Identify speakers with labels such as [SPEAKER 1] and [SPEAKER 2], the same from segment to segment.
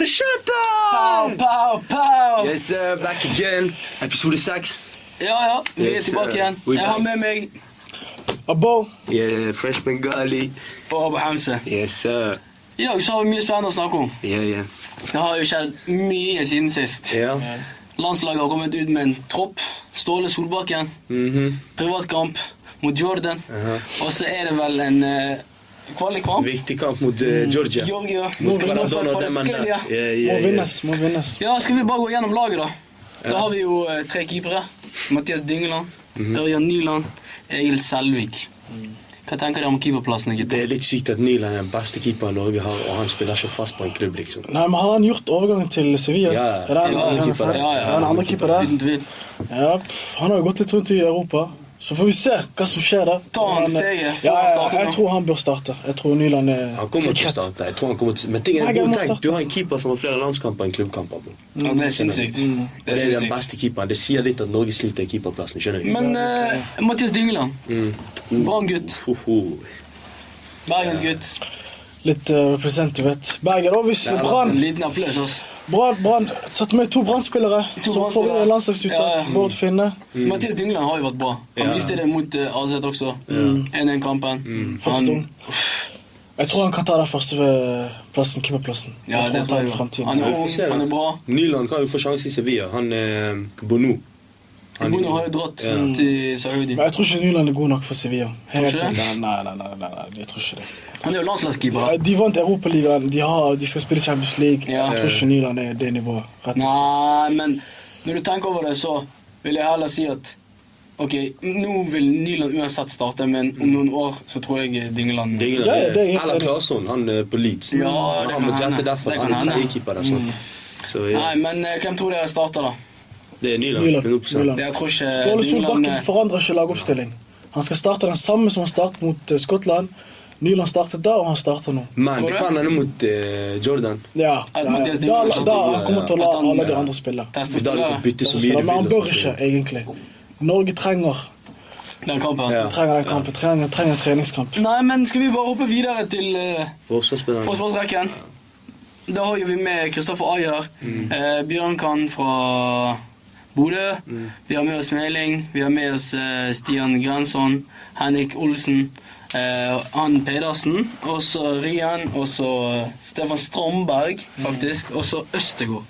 [SPEAKER 1] Krrrshata!
[SPEAKER 2] Pow, pow!
[SPEAKER 1] Yes, sir, back again. Episode 6.
[SPEAKER 2] Jo, jo, mirë
[SPEAKER 1] Yes,
[SPEAKER 2] si bak
[SPEAKER 1] sir.
[SPEAKER 2] janë.
[SPEAKER 1] We
[SPEAKER 2] E
[SPEAKER 1] back.
[SPEAKER 2] ha me me.
[SPEAKER 3] Abo,
[SPEAKER 1] Yeah, fresh Bengali.
[SPEAKER 2] Po, po, hamse.
[SPEAKER 1] Yes, sir.
[SPEAKER 2] Jo, i shohë mirë spanos në akum.
[SPEAKER 1] Yeah, yeah.
[SPEAKER 2] Jeg har jo kjent mye siden sist.
[SPEAKER 1] Yeah.
[SPEAKER 2] Landslaget har kommet ut med en tropp. Ståle Solbakken.
[SPEAKER 1] Mhm.
[SPEAKER 2] Privatkamp mot Jordan.
[SPEAKER 1] Aha.
[SPEAKER 2] Og så er det vel en eh, kvalikkamp.
[SPEAKER 1] Viktig kamp mot eh, Georgia.
[SPEAKER 2] Georgia.
[SPEAKER 1] Mot
[SPEAKER 2] Skal vi starte
[SPEAKER 1] Maradona og dem andre.
[SPEAKER 2] Palestina?
[SPEAKER 1] Yeah, yeah,
[SPEAKER 3] må
[SPEAKER 1] yeah.
[SPEAKER 3] vinnes, må vinnes.
[SPEAKER 2] Ja, skal vi bare gå gjennom laget, da? Da har vi jo eh, tre keepere. Mathias Dyngeland,
[SPEAKER 1] Mhm.
[SPEAKER 2] Ørjan Nyland, Egil Selvik. Hva tenker dere om keeperplassene,
[SPEAKER 1] Det
[SPEAKER 2] gutter?
[SPEAKER 1] er litt sykt at Nyland er den beste keeperen Norge har, og han spiller ikke fast på en klubb, liksom.
[SPEAKER 3] Nei, men har han gjort overgangen til Sevilla?
[SPEAKER 1] Ja,
[SPEAKER 3] er det en,
[SPEAKER 2] ja,
[SPEAKER 3] er det en,
[SPEAKER 1] keeper.
[SPEAKER 3] ja,
[SPEAKER 2] Ja, ja,
[SPEAKER 3] ja, en andre keeper der?
[SPEAKER 2] Uten tvil.
[SPEAKER 3] Ja, pff, han har jo gått litt rundt i Europa. Så får vi se hva som skjer der.
[SPEAKER 2] Ta han
[SPEAKER 3] Men, eh,
[SPEAKER 2] steget, få
[SPEAKER 3] Ja,
[SPEAKER 2] han
[SPEAKER 3] ja,
[SPEAKER 2] startet nå.
[SPEAKER 3] jeg tror han bør starte. Jeg tror Nyland er
[SPEAKER 1] Han kommer til å starte. Jeg tror han kommer til Men ting
[SPEAKER 3] Nei,
[SPEAKER 1] er
[SPEAKER 3] han
[SPEAKER 1] god
[SPEAKER 3] må
[SPEAKER 1] tenk.
[SPEAKER 3] starte.
[SPEAKER 1] Du har en keeper som har flere landskamper enn klubbkamper. bro.
[SPEAKER 2] Ja, det er sinnssykt.
[SPEAKER 1] Mm. Det
[SPEAKER 2] Det er
[SPEAKER 1] er den
[SPEAKER 2] sinnssykt.
[SPEAKER 1] beste keeperen. Det sier litt at Norge sliter i keeperplassen, skjønner du?
[SPEAKER 2] Men eh, Mathias Dyngeland, Brann-gutt,
[SPEAKER 1] Ho, ho.
[SPEAKER 2] Bergensgutt.
[SPEAKER 3] Litt eh, represent, du vet. Bergen, obviously.
[SPEAKER 1] Ja,
[SPEAKER 3] Brann.
[SPEAKER 2] En liten applaus, altså.
[SPEAKER 3] Brann, Brann. Sett med to Brann-spillere
[SPEAKER 2] To
[SPEAKER 3] som får
[SPEAKER 2] Brann-spillere.
[SPEAKER 3] landslagsuttak.
[SPEAKER 2] Ja, ja.
[SPEAKER 3] Bård Finne.
[SPEAKER 2] Mathias Dyngeland har jo vært bra. Han
[SPEAKER 1] Ja.
[SPEAKER 2] viste det mot eh, AZ også. 1-1-kampen.
[SPEAKER 3] Første ung. Jeg tror han kan ta den første eh, plassen, keeperplassen.
[SPEAKER 2] Ja,
[SPEAKER 3] Jeg
[SPEAKER 2] det
[SPEAKER 3] tror
[SPEAKER 2] tror
[SPEAKER 3] han
[SPEAKER 2] jeg. jo.
[SPEAKER 3] tar den
[SPEAKER 2] Han
[SPEAKER 3] i
[SPEAKER 2] er
[SPEAKER 1] Ja, vi får se,
[SPEAKER 2] ung,
[SPEAKER 1] da.
[SPEAKER 2] han er bra.
[SPEAKER 1] Nyland kan jo få sjanse i Sevilla. Han eh, Bono. Han-
[SPEAKER 2] Bono har jo dratt Mm.
[SPEAKER 1] Ja.
[SPEAKER 2] til Saudi.
[SPEAKER 3] Men jeg tror ikke Nyland er god nok for Sevilla. Helt
[SPEAKER 2] Tror du
[SPEAKER 3] Nei, nei, nei, nei, nei, nei, jeg tror ikke det.
[SPEAKER 2] Han er jo landslagskeeper.
[SPEAKER 3] Ja, De vant Europaligaen, de, har- de skal spille Champions League.
[SPEAKER 2] Ja.
[SPEAKER 3] Jeg tror ikke Nyland er det nivået. Rett. og slett.
[SPEAKER 2] Nei, men når du tenker over det, så vil jeg heller si at Ok, nå vil Nyland uansett starte, men om noen år så tror jeg Dyngeland
[SPEAKER 1] Det er ingen
[SPEAKER 3] Ja, ja, det er
[SPEAKER 1] andre.
[SPEAKER 3] helt
[SPEAKER 1] Eller
[SPEAKER 3] enig.
[SPEAKER 1] Claesson, han eh, på Leeds.
[SPEAKER 2] Ja,
[SPEAKER 1] Han
[SPEAKER 2] det
[SPEAKER 1] har
[SPEAKER 2] kan
[SPEAKER 1] blitt
[SPEAKER 2] hende.
[SPEAKER 1] hentet derfor.
[SPEAKER 2] Det
[SPEAKER 1] Han
[SPEAKER 2] kan
[SPEAKER 1] er
[SPEAKER 2] hende. Mm.
[SPEAKER 1] trekeeper der, sant. Så ja,
[SPEAKER 2] Nei, men eh, hvem tror dere starter, da?
[SPEAKER 1] det er Nyland.
[SPEAKER 3] Nyland,
[SPEAKER 1] 100
[SPEAKER 3] Nyland.
[SPEAKER 2] Det, jeg tror ikke
[SPEAKER 3] Ståle
[SPEAKER 2] Dyngeland
[SPEAKER 3] Solbakken
[SPEAKER 2] eh,
[SPEAKER 3] forandrer ikke lagoppstilling. Han skal starte den samme som han startet mot eh, Skottland. Nyland startet da, og han starter nå.
[SPEAKER 1] Men
[SPEAKER 2] Tror
[SPEAKER 1] det
[SPEAKER 2] du?
[SPEAKER 1] kan hende mot eh, Jordan.
[SPEAKER 3] Ja, ja,
[SPEAKER 2] At
[SPEAKER 3] ja.
[SPEAKER 2] Mathias
[SPEAKER 3] Da,
[SPEAKER 2] Nyland-
[SPEAKER 3] da han kommer til
[SPEAKER 2] At
[SPEAKER 3] å la
[SPEAKER 2] han-
[SPEAKER 3] alle de
[SPEAKER 1] ja.
[SPEAKER 3] andre spille.
[SPEAKER 2] tester
[SPEAKER 1] I dag kan
[SPEAKER 2] spillere
[SPEAKER 1] bytte så mye du
[SPEAKER 3] Men han
[SPEAKER 1] vil.
[SPEAKER 3] bør
[SPEAKER 1] altså.
[SPEAKER 3] ikke, egentlig. Norge trenger
[SPEAKER 2] den kampen.
[SPEAKER 1] Ja.
[SPEAKER 3] trenger den kampen, trenger, trenger en treningskamp.
[SPEAKER 2] Nei, men skal vi bare hoppe videre til eh,
[SPEAKER 1] Forsvarsspilleren.
[SPEAKER 2] forsvarsrekken? Da har jo vi med Kristoffer Ayer,
[SPEAKER 1] Mm.
[SPEAKER 2] eh, Bjørn Kahn fra Bodø.
[SPEAKER 1] Mm.
[SPEAKER 2] Vi har med oss Meling, vi har med oss eh, Stian Grensson, Henrik Olsen, eh, Ann Pedersen, og så Rian, og så eh, Stefan Strandberg, faktisk, og så Østegård.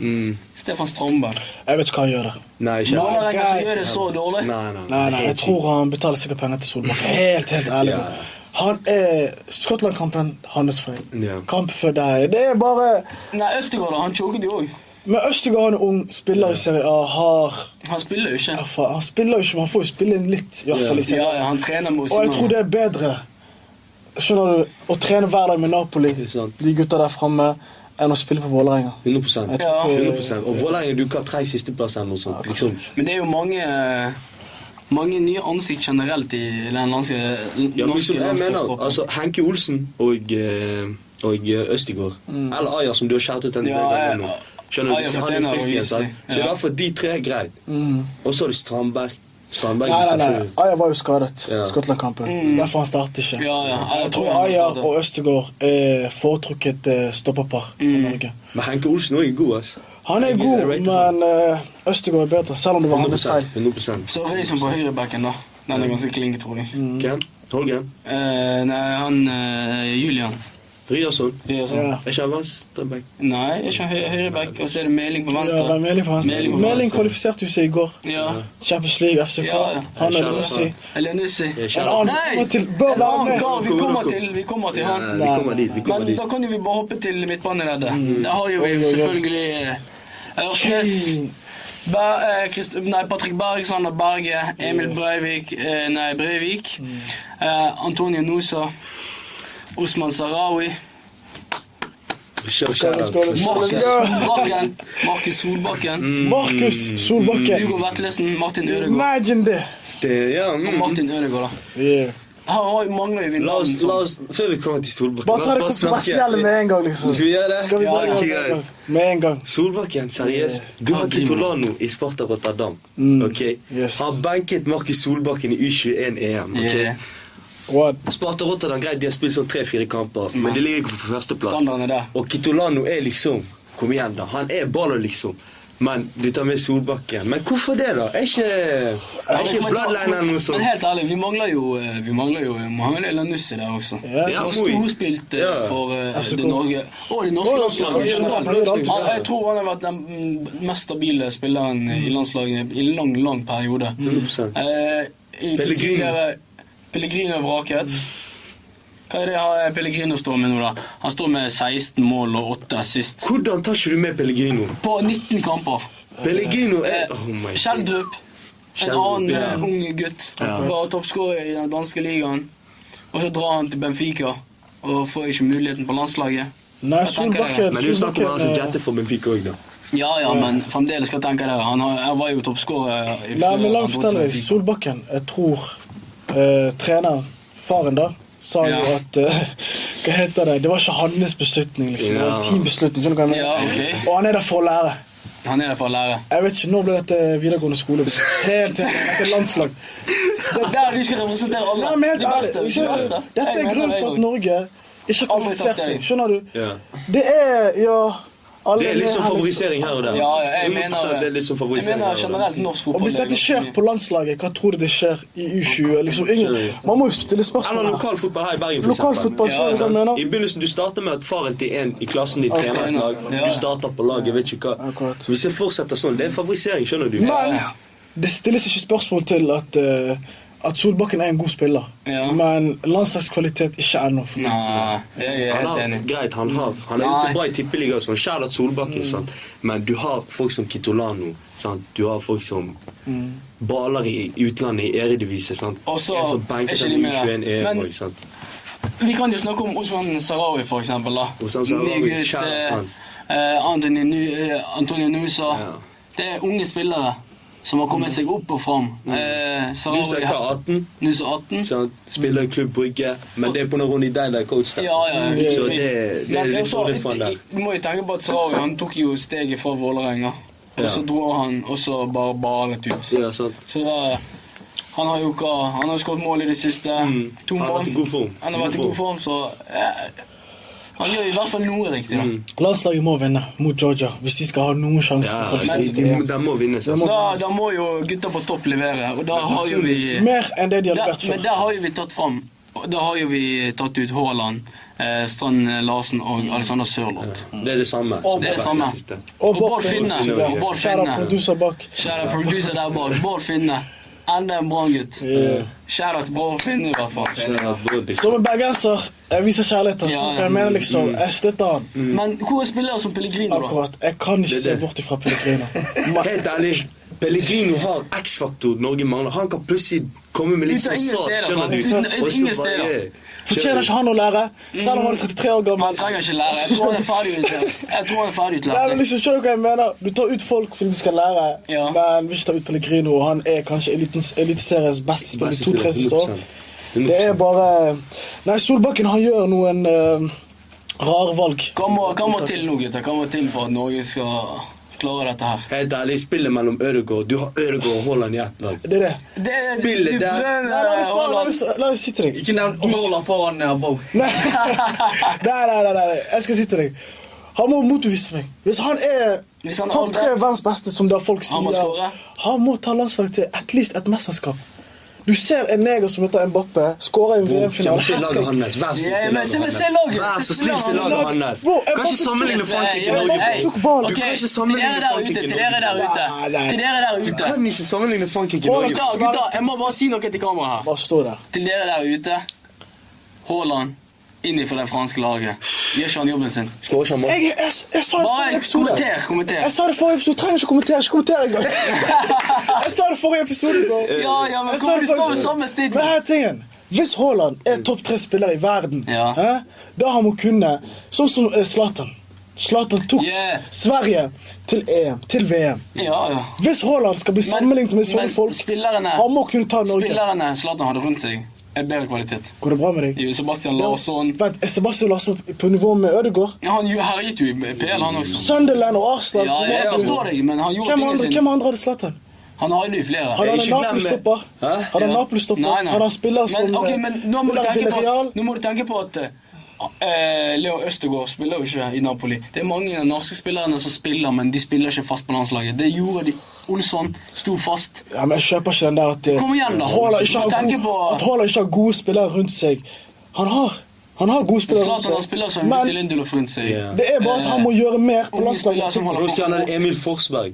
[SPEAKER 1] Mm.
[SPEAKER 2] Stefan Strandberg.
[SPEAKER 3] Jeg vet ikke hva han gjør der.
[SPEAKER 1] Nei, ikke
[SPEAKER 2] Mange
[SPEAKER 1] Nei,
[SPEAKER 2] rekker som gjør det så dårlig.
[SPEAKER 1] nei.
[SPEAKER 3] Nei, nei, jeg
[SPEAKER 1] Helt sykt.
[SPEAKER 3] tror han betaler sikkert penger til Solbakken. Helt, helt ærlig.
[SPEAKER 1] Ja.
[SPEAKER 3] Han er Skottland-kampen hans feil.
[SPEAKER 1] Ja.
[SPEAKER 3] Kampen før der. Det er bare
[SPEAKER 2] Nei, Østegård, da, han choket jo òg.
[SPEAKER 3] Men Østegård er en ung spiller i Serie A. Har
[SPEAKER 2] Han spiller jo ikke.
[SPEAKER 3] erfa- Han spiller jo ikke, men han får jo spille inn litt. I hvert fall i
[SPEAKER 2] Ja,
[SPEAKER 3] Serie A.
[SPEAKER 2] ja, han trener med
[SPEAKER 3] Og jeg tror det er bedre Skjønner du, å trene hver dag med Napoli,
[SPEAKER 1] Det er sant.
[SPEAKER 3] de gutta der framme, enn å spille på Vålerenga.
[SPEAKER 1] 100
[SPEAKER 2] Ja.
[SPEAKER 1] 100 Og Vålerenga duker tre sisteplass eller noe sånt. Liksom.
[SPEAKER 2] Men det er jo mange mange nye ansikt generelt i den landske,
[SPEAKER 1] Ja, men
[SPEAKER 2] norske
[SPEAKER 1] som jeg mener,
[SPEAKER 2] landslagstroppen.
[SPEAKER 1] altså Henke Olsen og, eh, og eh, Østigård
[SPEAKER 3] Mm.
[SPEAKER 1] Eller Aja, som du har shoutet den
[SPEAKER 2] Ja,
[SPEAKER 1] ganger
[SPEAKER 2] eh,
[SPEAKER 1] nå. Skjønner du,
[SPEAKER 2] Aja
[SPEAKER 1] Hvis han
[SPEAKER 2] fortjener
[SPEAKER 1] er frisk
[SPEAKER 2] å
[SPEAKER 1] igjen.
[SPEAKER 2] vise
[SPEAKER 1] sant?
[SPEAKER 2] seg,
[SPEAKER 1] Så i
[SPEAKER 2] ja.
[SPEAKER 1] hvert fall de tre er greit.
[SPEAKER 3] Mm.
[SPEAKER 1] Og så har du Strandberg. Strandberg
[SPEAKER 3] Nei, nei,
[SPEAKER 1] liksom,
[SPEAKER 3] nei. Aja var jo skadet.
[SPEAKER 1] Ja.
[SPEAKER 3] Skottland-kampen. Derfor han startet ikke.
[SPEAKER 2] Mm. Ja, ja, jeg
[SPEAKER 3] Jeg
[SPEAKER 2] tror
[SPEAKER 3] tror
[SPEAKER 2] han
[SPEAKER 3] Aja
[SPEAKER 2] starter.
[SPEAKER 3] og Østegård er foretrukket eh, stopperpar
[SPEAKER 2] Mm.
[SPEAKER 3] for Norge.
[SPEAKER 1] Men Henke Olsen også er god, ass.
[SPEAKER 3] Han er
[SPEAKER 1] Jeg-
[SPEAKER 3] god,
[SPEAKER 1] jeg rater han.
[SPEAKER 3] men eh, Østegård er bedre, selv om det var hans
[SPEAKER 1] 100%.
[SPEAKER 3] feil.
[SPEAKER 1] 100%.
[SPEAKER 2] Så Reisen på høyrebacken, da. Den er ganske klink, tror jeg.
[SPEAKER 1] Hvem? Holgen?
[SPEAKER 2] Eh, nei, han eh, Julian.
[SPEAKER 1] Ryerson?
[SPEAKER 2] Ryerson.
[SPEAKER 3] Ja.
[SPEAKER 1] Er ikke han venstreback?
[SPEAKER 2] Nei, ikke høy, høyreback. Og så er det Meling på
[SPEAKER 3] Ja,
[SPEAKER 2] venstre.
[SPEAKER 3] men Meling på venstre.
[SPEAKER 2] Meling på
[SPEAKER 3] Meling
[SPEAKER 2] venstre.
[SPEAKER 3] kvalifiserte jo seg i går.
[SPEAKER 2] Ja.
[SPEAKER 3] Champions League, FCK.
[SPEAKER 2] Ja, ja.
[SPEAKER 3] Han
[SPEAKER 1] Ja,
[SPEAKER 3] er Lucy.
[SPEAKER 2] Eller Nussi.
[SPEAKER 1] Ja,
[SPEAKER 3] En
[SPEAKER 1] Kjell.
[SPEAKER 3] annen
[SPEAKER 2] Nei!
[SPEAKER 3] kommer til bør
[SPEAKER 2] En
[SPEAKER 3] være
[SPEAKER 2] annen
[SPEAKER 3] med.
[SPEAKER 2] kar. Vi kommer til, vi kommer til
[SPEAKER 1] Ja,
[SPEAKER 2] han.
[SPEAKER 1] vi kommer dit. vi kommer
[SPEAKER 2] Men
[SPEAKER 1] dit. Mm.
[SPEAKER 2] da kan jo vi bare hoppe til midtbaneleddet. Der har jo
[SPEAKER 3] Oi,
[SPEAKER 2] vi
[SPEAKER 3] oi, oi.
[SPEAKER 2] selvfølgelig eh, Ørsnes.
[SPEAKER 3] Kjell.
[SPEAKER 2] Ber, eh, Christ, nei, Patrick Berg, Sander Berge, Emil Breivik, eh, nei, Breivik,
[SPEAKER 1] Mm.
[SPEAKER 2] eh, Antonio Nusa, Osman Sarawi,
[SPEAKER 1] Kjell,
[SPEAKER 3] Skål,
[SPEAKER 1] Kjell.
[SPEAKER 3] skål, skål.
[SPEAKER 2] Markus
[SPEAKER 3] Ja.
[SPEAKER 1] Mm.
[SPEAKER 2] Solbakken, Markus Solbakken,
[SPEAKER 3] Markus Solbakken.
[SPEAKER 2] Hugo Vetlesen, Martin Ødegaard.
[SPEAKER 3] Imagine det!
[SPEAKER 1] Ste- ja, mm.
[SPEAKER 2] Martin Ødegaard, da.
[SPEAKER 3] Yeah.
[SPEAKER 2] Her har- mangler jo vi
[SPEAKER 1] La
[SPEAKER 2] navn
[SPEAKER 1] oss, la
[SPEAKER 2] som
[SPEAKER 1] oss, før vi kommer til Solbakken
[SPEAKER 3] Bare ta
[SPEAKER 1] la
[SPEAKER 3] det
[SPEAKER 1] oss snakke-
[SPEAKER 3] kontroversielle med en gang, liksom.
[SPEAKER 1] Skal vi gjøre det?
[SPEAKER 3] Skal vi
[SPEAKER 2] Ja,
[SPEAKER 3] bare
[SPEAKER 2] ja.
[SPEAKER 3] gjøre det med en gang? Med en gang.
[SPEAKER 1] Solbakken, seriøst. Du har Kitolano i Sparta
[SPEAKER 2] Mm,
[SPEAKER 1] Rotterdam. ok?
[SPEAKER 3] yes.
[SPEAKER 1] Han banket Markus Solbakken i U21 EM. E ok?
[SPEAKER 2] Yeah.
[SPEAKER 3] What?
[SPEAKER 1] Sparta Rotterdam, greit, de har spelat sån tre, fyra kamper. Men de ligger på första plats.
[SPEAKER 2] Mm. Standarden er der.
[SPEAKER 1] Och Kitolano är liksom, kom igen då, han är bollen liksom. Men du tar med Solbakken. Men hvorfor det, da? Er ikke, er ikke Bloodline eller noe
[SPEAKER 2] Men
[SPEAKER 1] sånt?
[SPEAKER 2] helt ærlig, vi mangler jo, eh, vi mangler jo eh, Mohamed El Anussi der også. Som
[SPEAKER 3] Ja.
[SPEAKER 1] Ja,
[SPEAKER 2] har
[SPEAKER 1] Moi.
[SPEAKER 2] storspilt eh,
[SPEAKER 1] Ja.
[SPEAKER 2] for eh,
[SPEAKER 3] FCK.
[SPEAKER 2] det Norge og det norske
[SPEAKER 3] Ja,
[SPEAKER 2] landslaget.
[SPEAKER 3] ja,
[SPEAKER 2] generelt.
[SPEAKER 3] ja, ja, ja.
[SPEAKER 2] Han- Jeg tror han har vært den mm, mest stabile spilleren i landslaget i en lang, lang periode.
[SPEAKER 1] 100%.
[SPEAKER 2] Eh, i
[SPEAKER 1] Pellegrini.
[SPEAKER 2] tidligere- Pellegrino er vraket. Hva er det ha- Pellegrino står med nå, da? Han står med 16 mål og 8 assist.
[SPEAKER 1] Hvordan tar ikke du med Pellegrino?
[SPEAKER 2] På 19 kamper.
[SPEAKER 1] Pellegrino er
[SPEAKER 2] Eh,
[SPEAKER 1] Oh my god.
[SPEAKER 2] Sheldrup. En
[SPEAKER 1] Sheldrup,
[SPEAKER 2] annen
[SPEAKER 1] ja.
[SPEAKER 2] eh, ung gutt.
[SPEAKER 1] Ja.
[SPEAKER 2] Var toppskårer i den danske ligaen. Og så drar han til Benfica og får ikke muligheten på landslaget.
[SPEAKER 3] Nei,
[SPEAKER 2] Jeg tenker det.
[SPEAKER 3] Solbakken eh,
[SPEAKER 1] Men du snakker om han som
[SPEAKER 3] Solbakken,
[SPEAKER 1] jetter for Benfica òg, da.
[SPEAKER 2] Ja, ja, men fremdeles, hva tenker dere? Han har, han var jo toppskårer
[SPEAKER 3] eh,
[SPEAKER 2] i-
[SPEAKER 3] Nei,
[SPEAKER 2] før
[SPEAKER 3] men la
[SPEAKER 2] han
[SPEAKER 3] meg
[SPEAKER 2] dro
[SPEAKER 3] fortelle
[SPEAKER 2] til
[SPEAKER 3] deg.
[SPEAKER 2] Benfica.
[SPEAKER 3] Solbakken, jeg tror eh, treneren, faren da, sa jo
[SPEAKER 2] Ja.
[SPEAKER 3] at eh, Hva heter det? Det var ikke hans beslutning, liksom. Det var
[SPEAKER 1] Ja.
[SPEAKER 3] en teambeslutning. Skjønner du hva jeg
[SPEAKER 2] Ja,
[SPEAKER 3] mener?
[SPEAKER 2] ok.
[SPEAKER 3] Og han er der for å lære.
[SPEAKER 2] Han er der for å lære.
[SPEAKER 3] Jeg vet ikke, Nå ble dette videregående skole. Helt til dette er landslag.
[SPEAKER 2] Det er der du skal representere alle.
[SPEAKER 3] Nei, men helt
[SPEAKER 2] de beste. Ikke
[SPEAKER 3] ærlig,
[SPEAKER 2] de beste.
[SPEAKER 3] skjønner du?
[SPEAKER 2] Jeg
[SPEAKER 3] Dette er
[SPEAKER 2] mener
[SPEAKER 3] grunnen
[SPEAKER 2] det,
[SPEAKER 3] for
[SPEAKER 2] jeg
[SPEAKER 3] at Norge ikke har
[SPEAKER 2] Alle tar
[SPEAKER 3] kvalifisert
[SPEAKER 2] seg.
[SPEAKER 3] seg. Skjønner du?
[SPEAKER 1] Ja.
[SPEAKER 3] Det er ja alle
[SPEAKER 1] Det er litt sånn
[SPEAKER 3] her, liksom.
[SPEAKER 1] favorisering her og der.
[SPEAKER 2] Ja, ja, jeg
[SPEAKER 1] 100%
[SPEAKER 2] mener
[SPEAKER 1] det. er litt sånn
[SPEAKER 2] Jeg
[SPEAKER 1] favorisering
[SPEAKER 2] mener
[SPEAKER 1] her og der.
[SPEAKER 2] generelt norsk
[SPEAKER 3] Og
[SPEAKER 2] fotball.
[SPEAKER 3] hvis
[SPEAKER 2] det er
[SPEAKER 3] dette
[SPEAKER 2] ganske
[SPEAKER 3] skjer
[SPEAKER 2] mye.
[SPEAKER 3] på landslaget, hva tror du det skjer i U20? Liksom, ingen, man må jo stille
[SPEAKER 1] Eller
[SPEAKER 3] spørsmål. her.
[SPEAKER 1] lokal fotball her i Bergen, for
[SPEAKER 3] Lokal
[SPEAKER 1] eksempel.
[SPEAKER 3] fotball,
[SPEAKER 2] Ja, altså,
[SPEAKER 3] skjønner du hva jeg
[SPEAKER 1] I
[SPEAKER 3] mener?
[SPEAKER 1] begynnelsen, Du starter med at faren til en i klassen din trener et lag.
[SPEAKER 2] Ja.
[SPEAKER 1] Du starter på lag, jeg vet ikke hva.
[SPEAKER 3] Akkurat.
[SPEAKER 1] Hvis jeg fortsetter sånn, det er favorisering, skjønner du.
[SPEAKER 3] Men det stilles ikke spørsmål til at, eh, at Solbakken er en god spiller.
[SPEAKER 2] Ja.
[SPEAKER 3] Men landslagskvalitet ikke ennå.
[SPEAKER 2] Nei, jeg er
[SPEAKER 1] Han
[SPEAKER 2] helt
[SPEAKER 1] har,
[SPEAKER 2] enig.
[SPEAKER 1] greit, han har Han er
[SPEAKER 2] Nei.
[SPEAKER 1] ute bra i tippeliga og sånn. Charlotte Solbakken,
[SPEAKER 3] Mm.
[SPEAKER 1] sant. Men du har folk som Kitolano, sant. Du har folk som
[SPEAKER 3] Mm.
[SPEAKER 1] baler i utlandet, i eredivise, sant.
[SPEAKER 2] Og så
[SPEAKER 1] En som
[SPEAKER 2] er
[SPEAKER 1] benket
[SPEAKER 2] ikke
[SPEAKER 1] dem
[SPEAKER 2] de
[SPEAKER 1] i
[SPEAKER 2] med.
[SPEAKER 1] 21 EM,
[SPEAKER 2] Men-
[SPEAKER 1] også, sant.
[SPEAKER 2] Vi kan jo snakke om Osman Sarawi, for eksempel. da.
[SPEAKER 1] Osman Sarawi,
[SPEAKER 2] Ny gutt,
[SPEAKER 1] shout out,
[SPEAKER 2] eh,
[SPEAKER 1] man.
[SPEAKER 2] eh, Anthony Nu- eh, Antonio Nusa.
[SPEAKER 1] Ja. Mm.
[SPEAKER 2] Det er unge spillere som har kommet seg opp og fram. Eh,
[SPEAKER 1] Du sa
[SPEAKER 2] Sarawi
[SPEAKER 1] hva, 18?
[SPEAKER 2] Nusa 18.
[SPEAKER 1] Sant? Spiller i Klubb Brygge, men det er på Ronny Deila er coach der. Mm.
[SPEAKER 2] Ja, ja. ja.
[SPEAKER 1] Så det, det er
[SPEAKER 2] Men
[SPEAKER 1] litt
[SPEAKER 2] også,
[SPEAKER 1] fordel for han der.
[SPEAKER 2] Du må jo tenke på at Sarawi han tok jo steget fra Vålerenga. Og så
[SPEAKER 1] Ja.
[SPEAKER 2] dro han, og så bare balet ut.
[SPEAKER 1] Ja, sant.
[SPEAKER 2] Så da, han har jo hva Han har jo skåret mål i det siste. To
[SPEAKER 1] Mm. Han har
[SPEAKER 2] mål.
[SPEAKER 1] vært i god form.
[SPEAKER 2] Han har vært i god form, så eh, Han gjør i hvert fall noe riktig, da.
[SPEAKER 1] Mm.
[SPEAKER 3] Landslaget må vinne mot Georgia hvis de skal ha noen sjanse.
[SPEAKER 1] Ja,
[SPEAKER 3] for å
[SPEAKER 1] de,
[SPEAKER 2] altså,
[SPEAKER 3] kvalifisere seg
[SPEAKER 1] de,
[SPEAKER 3] til
[SPEAKER 1] må-
[SPEAKER 3] EM.
[SPEAKER 1] de må vinne, sant.
[SPEAKER 3] De må-
[SPEAKER 2] Da, da må jo gutta på topp levere, og da har jo vi
[SPEAKER 3] Mer enn det de har
[SPEAKER 2] da,
[SPEAKER 3] levert
[SPEAKER 2] Men
[SPEAKER 3] før.
[SPEAKER 2] der har jo vi tatt fram og Da har jo vi tatt ut Haaland, eh, Strand Larsen og
[SPEAKER 1] Mm.
[SPEAKER 2] Alexander Sørloth.
[SPEAKER 1] Det er det samme. som
[SPEAKER 2] Det er det
[SPEAKER 1] har
[SPEAKER 2] samme.
[SPEAKER 1] vært siste.
[SPEAKER 2] Og Bård Finne.
[SPEAKER 1] Finne.
[SPEAKER 2] Og Bård
[SPEAKER 3] Kjære
[SPEAKER 2] Finne.
[SPEAKER 3] producer bak.
[SPEAKER 2] Kjære producer der bak. Bård Finne. Enda en Brann-gutt.
[SPEAKER 3] Yeah.
[SPEAKER 2] Kjære til Bård Finne, i hvert fall.
[SPEAKER 1] Det er Brodis.
[SPEAKER 3] Som en bergenser, jeg viser kjærlighet til
[SPEAKER 2] Ja,
[SPEAKER 3] ham.
[SPEAKER 2] ja. Mm.
[SPEAKER 3] Jeg mener liksom, jeg støtter han.
[SPEAKER 2] Men hvor er spillere som Pellegrino, da?
[SPEAKER 3] Akkurat. Jeg kan ikke
[SPEAKER 1] Det er
[SPEAKER 3] se
[SPEAKER 1] det.
[SPEAKER 3] bort ifra Pellegrino.
[SPEAKER 1] Helt ærlig, Pellegrino har X-faktor Norge mangler. Han kan plutselig komme med litt
[SPEAKER 2] Uten
[SPEAKER 1] sånn
[SPEAKER 2] ingen
[SPEAKER 1] sas,
[SPEAKER 2] steder,
[SPEAKER 1] skjønner
[SPEAKER 2] sant?
[SPEAKER 1] du?
[SPEAKER 2] Uten-
[SPEAKER 1] Og så
[SPEAKER 2] ingen
[SPEAKER 1] bare,
[SPEAKER 2] steder.
[SPEAKER 1] yeah.
[SPEAKER 3] Fortjener ikke han å lære, selv om han er 33 år
[SPEAKER 2] Man
[SPEAKER 3] gammel.
[SPEAKER 2] trenger ikke lære. Jeg tror han er ferdig utlært. Jeg tror han er ferdig
[SPEAKER 3] Nei, men
[SPEAKER 2] utlært.
[SPEAKER 3] liksom, skjønner du hva jeg mener? Du tar ut folk fordi de skal lære,
[SPEAKER 2] Ja.
[SPEAKER 3] men vil ikke ta ut Pellegrino, og han er kanskje elitens- eliteseriens beste spiller i to-tre siste år.
[SPEAKER 1] 100%.
[SPEAKER 3] Det er bare Nei, Solbakken han gjør noen uh, rare valg.
[SPEAKER 2] Hva må, hva må til nå, gutter? Hva må til for at Norge skal klare dette her?
[SPEAKER 1] Helt ærlig, spillet mellom Ødegaard Du har Ødegaard og Haaland i ett lag.
[SPEAKER 3] Det er det.
[SPEAKER 2] Det er
[SPEAKER 1] Spillet der.
[SPEAKER 3] Nei, la meg spare- la meg la meg si til deg.
[SPEAKER 4] Ikke nevn Haaland foran eh, Bow.
[SPEAKER 3] Nei. nei, nei, nei, nei. Jeg skal si til deg. Han må motbevise meg. Hvis han er
[SPEAKER 2] Hvis han er
[SPEAKER 3] topp tre
[SPEAKER 2] allround.
[SPEAKER 3] verdens beste, som da folk sier
[SPEAKER 2] Han må score.
[SPEAKER 3] han må ta landslaget til at least et mesterskap. Du ser en neger som heter Mbappe, skårer i en
[SPEAKER 1] Ja, men Se
[SPEAKER 3] VM-finale.
[SPEAKER 1] laget hans. Vær så snill,
[SPEAKER 2] Ja,
[SPEAKER 1] se
[SPEAKER 2] men se-
[SPEAKER 1] laget
[SPEAKER 2] se
[SPEAKER 1] hans.
[SPEAKER 2] laget.
[SPEAKER 1] Vær så snill, se
[SPEAKER 2] Se
[SPEAKER 1] laget
[SPEAKER 3] laget.
[SPEAKER 1] hans.
[SPEAKER 3] Bro, jeg
[SPEAKER 1] Kan
[SPEAKER 3] bare
[SPEAKER 1] ikke
[SPEAKER 3] tok-
[SPEAKER 1] sammenligne Frankrike og Norge.
[SPEAKER 2] Hey,
[SPEAKER 1] bro.
[SPEAKER 3] tok ballen.
[SPEAKER 2] ok,
[SPEAKER 1] Du kan ikke
[SPEAKER 2] Til
[SPEAKER 1] sammenligne
[SPEAKER 2] dere der ute,
[SPEAKER 1] Frankrike
[SPEAKER 2] til dere der ute.
[SPEAKER 3] Nei, nei.
[SPEAKER 2] Til dere der
[SPEAKER 1] Du
[SPEAKER 2] ute.
[SPEAKER 1] kan ikke sammenligne Frankrike og
[SPEAKER 3] Haaland-
[SPEAKER 1] Norge.
[SPEAKER 2] Gutta, gutta, jeg må bare si noe til kameraet her.
[SPEAKER 3] Bare stå der.
[SPEAKER 2] Til dere der ute. Haaland inn i for det franske laget. Gjør ikke han jobben sin?
[SPEAKER 1] Skårer ikke han mål?
[SPEAKER 3] Jeg, jeg, jeg, sa det forrige
[SPEAKER 2] Bare
[SPEAKER 3] episode.
[SPEAKER 2] kommenter, kommenter.
[SPEAKER 3] Jeg sa det forrige episode. Trenger ikke kommentere. Ikke kommentere engang. Jeg sa det forrige episode, bro.
[SPEAKER 2] Ja, ja, men
[SPEAKER 3] Jeg sa
[SPEAKER 2] hvorfor
[SPEAKER 3] det
[SPEAKER 2] du står
[SPEAKER 3] forrige
[SPEAKER 2] med samme
[SPEAKER 3] episode.
[SPEAKER 2] stil?
[SPEAKER 3] Men her er tingen. Hvis Haaland er topp tre spiller i verden,
[SPEAKER 2] Ja.
[SPEAKER 3] hæ? da han må kunne Sånn som eh, Zlatan. Zlatan tok
[SPEAKER 2] Yeah.
[SPEAKER 3] Sverige til EM, til VM.
[SPEAKER 2] Ja, ja.
[SPEAKER 3] Hvis Haaland skal bli sammenlignet med sånne
[SPEAKER 2] men
[SPEAKER 3] folk,
[SPEAKER 2] spillerne-
[SPEAKER 3] han må kunne ta Norge.
[SPEAKER 2] Spillerne Zlatan hadde rundt seg, er bedre kvalitet.
[SPEAKER 3] Går det bra med deg?
[SPEAKER 2] Jo, Sebastian Larsson
[SPEAKER 3] Vent, er Sebastian Larsson på nivå med Ødegaard?
[SPEAKER 2] ja, Han jo- herjet jo i PL, han også.
[SPEAKER 3] Sunderland og Arsenal
[SPEAKER 2] Ja, ja, jeg forstår deg, men han gjorde
[SPEAKER 3] Hvem
[SPEAKER 2] tingene
[SPEAKER 3] andre,
[SPEAKER 2] sine.
[SPEAKER 3] hvem andre hadde Zlatan?
[SPEAKER 2] Han har ju flera.
[SPEAKER 3] Har han
[SPEAKER 1] ikke glemme-
[SPEAKER 3] en Napoli-stopper?
[SPEAKER 1] Hæ?
[SPEAKER 3] Har han
[SPEAKER 2] Ja.
[SPEAKER 3] Napoli-stopper?
[SPEAKER 2] Nei, nei.
[SPEAKER 3] Har han spiller som
[SPEAKER 2] men, ok,
[SPEAKER 3] eh,
[SPEAKER 2] men nå må, du
[SPEAKER 3] spiller
[SPEAKER 2] tenke på,
[SPEAKER 3] Villarreal?
[SPEAKER 2] nå må du tenke på at eh, Leo Østegård spiller jo ikke i Napoli. Det er mange av de norske spillerne som spiller, men de spiller ikke fast på landslaget. Det gjorde de. Olsson sto fast.
[SPEAKER 3] Ja, men jeg kjøper ikke den der at eh,
[SPEAKER 2] Kom igjen, da.
[SPEAKER 3] Haaland ikke
[SPEAKER 2] Må
[SPEAKER 3] har
[SPEAKER 2] tenke
[SPEAKER 3] god-
[SPEAKER 2] på-
[SPEAKER 3] At Haaland ikke har gode spillere rundt seg. Han har Han har gode spillere
[SPEAKER 2] Zlatan
[SPEAKER 3] rundt seg.
[SPEAKER 2] han spiller som Mikkel Lindelöf rundt seg. Eh,
[SPEAKER 1] Ja.
[SPEAKER 3] det er bare at han må gjøre mer på
[SPEAKER 2] unge spillere
[SPEAKER 3] landslaget.
[SPEAKER 2] som
[SPEAKER 3] sitt.
[SPEAKER 1] Nå skal han ha Emil Forsberg.